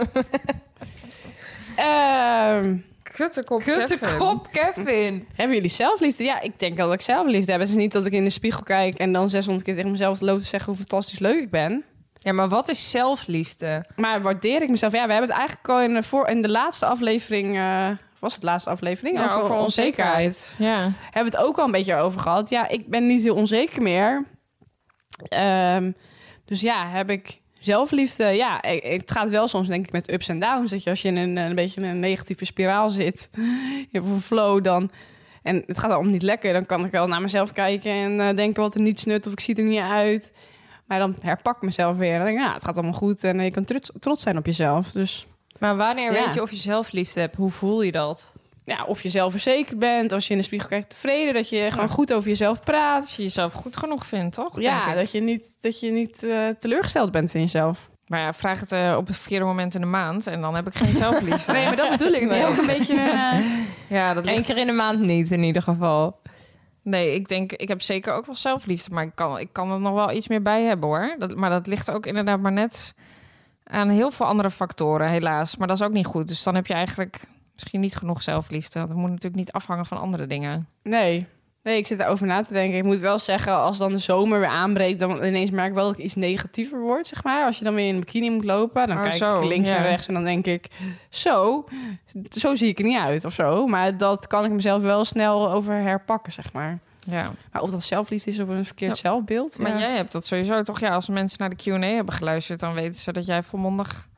Ehm, Kuttekop Kutte kop, [laughs] Kevin. hebben jullie zelfliefde? Ja, ik denk wel dat ik zelfliefde heb. Het is niet dat ik in de spiegel kijk en dan 600 keer tegen mezelf loop te zeggen hoe fantastisch leuk ik ben. Ja, maar wat is zelfliefde? Maar waardeer ik mezelf? Ja, we hebben het eigenlijk al in de, voor, in de laatste aflevering... eh, was het de laatste aflevering? Ja, over onzekerheid. Ja. hebben we het ook al een beetje over gehad. Ja, ik ben niet heel onzeker meer. Ehm, dus ja, heb ik zelfliefde. Ja, eh, het gaat wel soms denk ik met ups en downs. Dat je als je in een, een beetje in een negatieve spiraal zit, [laughs] je hebt een flow dan... En het gaat allemaal niet lekker. Dan kan ik wel naar mezelf kijken en eh, denken wat er niet snut of ik zie er niet uit. Maar dan herpak ik mezelf weer. En dan denk ik, ja, het gaat allemaal goed. En je kan trots, trots zijn op jezelf. Dus Maar wanneer Ja. weet je of je zelfliefde hebt? Hoe voel je dat? ja, of je zelfverzekerd bent. Als je in de spiegel kijkt tevreden. Dat je gewoon goed over jezelf praat. Als je jezelf goed genoeg vindt, toch? Ja, Denk ik. dat je niet, dat je niet eh, teleurgesteld bent in jezelf. Maar ja, vraag het eh, op het verkeerde moment in de maand en dan heb ik geen zelfliefde. Nee, maar dat bedoel [laughs] ik. Nee. Nee. Ook een beetje een, eh, ja, dat Eén ligt- keer in de maand niet, in ieder geval. Nee, ik denk, ik heb zeker ook wel zelfliefde, maar ik kan, ik kan er nog wel iets meer bij hebben hoor. Dat, maar dat ligt ook inderdaad maar net aan heel veel andere factoren, helaas. Maar dat is ook niet goed. Dus dan heb je eigenlijk misschien niet genoeg zelfliefde. Dat moet natuurlijk niet afhangen van andere dingen. [laughs] nee. Nee, ik zit daarover na te denken. Ik moet wel zeggen, als dan de zomer weer aanbreekt, dan ineens merk ik wel dat ik iets negatiever word, zeg maar. Als je dan weer in een bikini moet lopen, dan Oh, kijk zo, ik links ja. en rechts en dan denk ik, zo, zo zie ik er niet uit of zo. Maar dat kan ik mezelf wel snel over herpakken, zeg maar. Ja. Maar of dat zelfliefde is op een verkeerd zelfbeeld. Maar ja. jij hebt dat sowieso toch? Ja, als mensen naar de Q&A hebben geluisterd, dan weten ze dat jij volmondig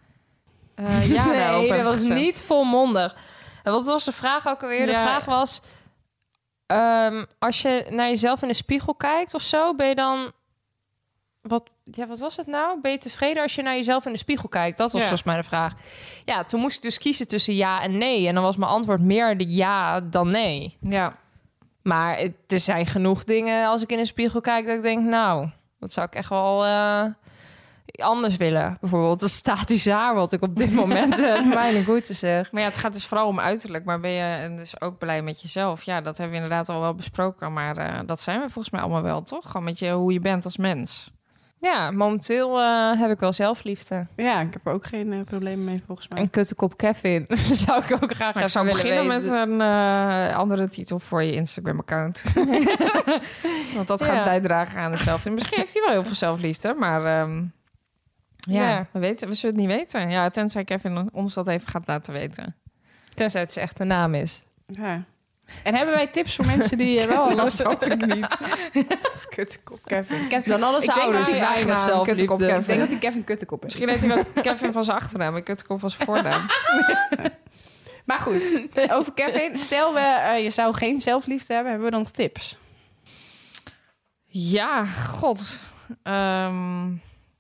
eh ja daarop nee, dat hebt was gezet. niet volmondig. En wat was de vraag ook alweer? De Ja. vraag was... ehm, als je naar jezelf in de spiegel kijkt of zo, ben je dan... Wat, ja, wat was het nou? Ben je tevreden als je naar jezelf in de spiegel kijkt? Dat was Ja. volgens mij de vraag. Ja, toen moest ik dus kiezen tussen ja en nee. En dan was mijn antwoord meer de ja dan nee. Ja. Maar het- er zijn genoeg dingen als ik in een spiegel kijk dat ik denk, nou, dat zou ik echt wel eh, anders willen. Bijvoorbeeld een statisch haar, wat ik op [laughs] dit moment eh mijn te zeg. Maar ja, het gaat dus vooral om uiterlijk. Maar ben je en dus ook blij met jezelf? Ja, dat hebben we inderdaad al wel besproken. Maar eh, dat zijn we volgens mij allemaal wel, toch? Gewoon met je, hoe je bent als mens. Ja, momenteel eh, heb ik wel zelfliefde. Ja, ik heb er ook geen eh, problemen mee volgens mij. Een kutte kop Kevin [laughs] zou ik ook graag Maar ik even zou willen beginnen met weten. een eh, andere titel voor je Instagram-account. Want dat gaat Ja. bijdragen aan dezelfde. Misschien heeft hij wel heel veel zelfliefde, maar... ehm, eh, ja, Ja. We, weten, we zullen het niet weten. Ja, tenzij Kevin ons dat even gaat laten weten. Tenzij het zijn echte naam is. Ja. En hebben wij tips voor mensen die eh, [laughs] wel last hoop ik niet. [laughs] Kuttekop Kevin. Kevin. Dan alles Ik denk ouders dat die hij weinig eigenaar een kutte kop zelfliefde. Ik denk [laughs] dat die Kevin Kuttekop is. Misschien heet hij wel Kevin van zijn achternaam. Ik het kom van zijn [laughs] voornaam. Maar goed, eh, over Kevin. Stel, we, eh, je zou geen zelfliefde hebben, hebben we dan tips? Ja, god. Ehm,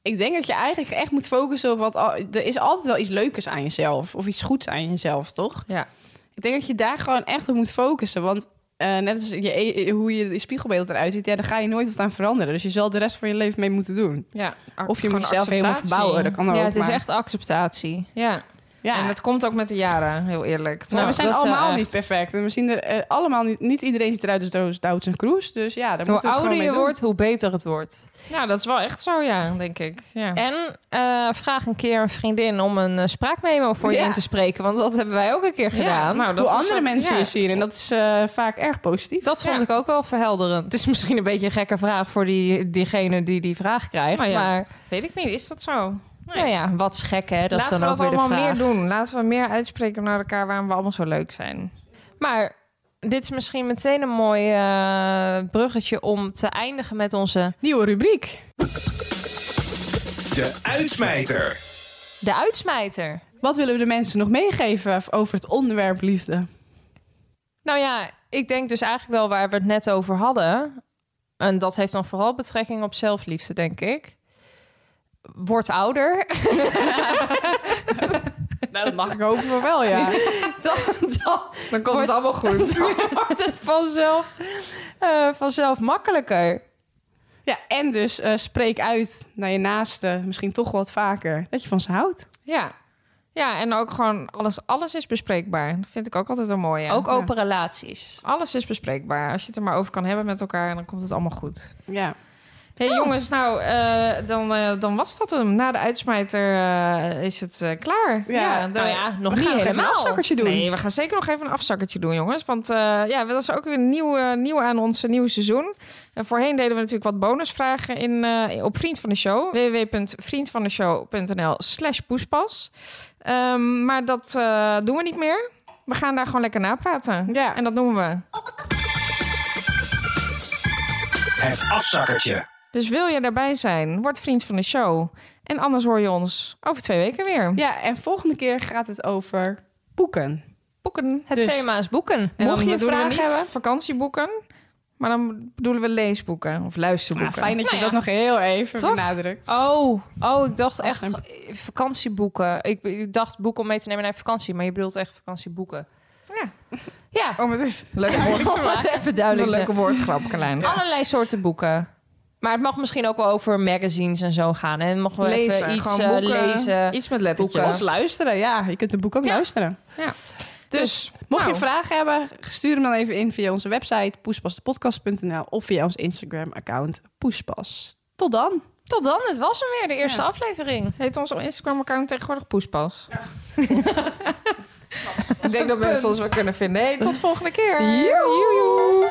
Ik denk dat je eigenlijk echt moet focussen op wat... al- er is altijd wel iets leukers aan jezelf. Of iets goeds aan jezelf, toch? ja. Ik denk dat je daar gewoon echt op moet focussen. Want eh, net als je, e- hoe je je spiegelbeeld eruit ziet... Ja, daar ga je nooit wat aan veranderen. Dus je zal de rest van je leven mee moeten doen. ja. ac- Of je moet gewoon jezelf helemaal acceptatie. verbouwen. Dat kan Ja, ook, het is maar- echt acceptatie. Ja. Ja. en dat komt ook met de jaren, heel eerlijk. Maar Nou, we zijn dat is wel allemaal echt. niet perfect. En we zien er eh, allemaal niet... Niet iedereen ziet eruit als Douds en Kroes. Dus ja, daar Hoe moeten we het ouder gewoon mee je doen. wordt, hoe beter het wordt. ja, Nou, dat is wel echt zo, ja, denk ik. Ja. En eh, vraag een keer een vriendin om een eh, spraakmemo voor je Ja. in te spreken. Want dat hebben wij ook een keer Ja, gedaan. nou, dat Hoe is andere ook- mensen ja. je zien. En dat is eh, vaak erg positief. dat vond ja. ik ook wel verhelderend. Het is misschien een beetje een gekke vraag voor die, diegene die die vraag krijgt. Nou ja. Maar Weet ik niet, is dat zo? Nee. nou ja, wat is gek hè? Dat Laten is dan we ook dat weer de allemaal vraag. meer doen. Laten we meer uitspreken naar elkaar waarom we allemaal zo leuk zijn. Maar dit is misschien meteen een mooi eh, bruggetje om te eindigen met onze... Nieuwe rubriek. De uitsmijter. De uitsmijter. Wat willen we de mensen nog meegeven over het onderwerp liefde? Nou ja, ik denk dus eigenlijk wel waar we het net over hadden. En dat heeft dan vooral betrekking op zelfliefde, denk ik. Word ouder. [laughs] Nou, dat mag ik hopen voor wel, ja. [laughs] dan, dan Dan komt het allemaal goed. [laughs] wordt het vanzelf, eh, vanzelf makkelijker. ja en dus eh, spreek uit naar je naaste, misschien toch wat vaker, dat je van ze houdt. ja. ja, en ook gewoon alles, alles is bespreekbaar. Dat vind ik ook altijd een mooie. Ook open relaties. Alles is bespreekbaar. Als je het er maar over kan hebben met elkaar, dan komt het allemaal goed. Ja. Hé Oh. hey, jongens, nou, eh, dan, eh, dan was dat hem. Na de uitsmijter eh, is het eh, klaar. Ja, de- nou ja, nog we niet gaan even helemaal. een Zakkertje doen. Nee, we gaan zeker nog even een afzakkertje doen, jongens. Want eh, ja, dat is ook weer nieuw, eh, nieuw aan ons eh, nieuwe seizoen. En voorheen deden we natuurlijk wat bonusvragen in, eh, op Vriend van de Show. www.vriendvandeshow.nl slash poespas. Ehm, maar dat eh, doen we niet meer. We gaan daar gewoon lekker napraten. Ja. En dat doen we. Het afzakkertje. Dus wil je daarbij zijn, word vriend van de show. En anders hoor je ons over twee weken weer. ja, en volgende keer gaat het over boeken. Boeken. Het Dus- thema is boeken. En Mocht dan je bedoelen we vragen niet hebben? vakantieboeken, maar dan bedoelen we leesboeken of luisterboeken. Nou, fijn dat je dat nog heel even Toch? benadrukt. Oh, oh, ik dacht Als echt vakantieboeken. Ik, ik dacht boeken om mee te nemen naar vakantie, maar je bedoelt echt vakantieboeken. Ja. Ja, [laughs] Om het even- leuke woord. [laughs] om het even duidelijk Een te leuke woordgrap, Carlijn. Allerlei soorten boeken. Maar het mag misschien ook wel over magazines en zo gaan. En mag wel Lezen, even iets gewoon eh, boeken. lezen. Iets met Of lettertjes. luisteren, ja. Je kunt het boek ook Ja. luisteren. Ja. Dus, Dus, mocht nou. je vragen hebben, stuur hem dan even in via onze website poespasdepodcast.nl of via ons Instagram-account poespas. Tot dan. Tot dan, het was hem weer, de eerste Ja. aflevering. Heet ons op Instagram-account tegenwoordig Poespas. [laughs] Ik denk dat mensen ons wel kunnen vinden. Hey, tot volgende keer. Joejoe.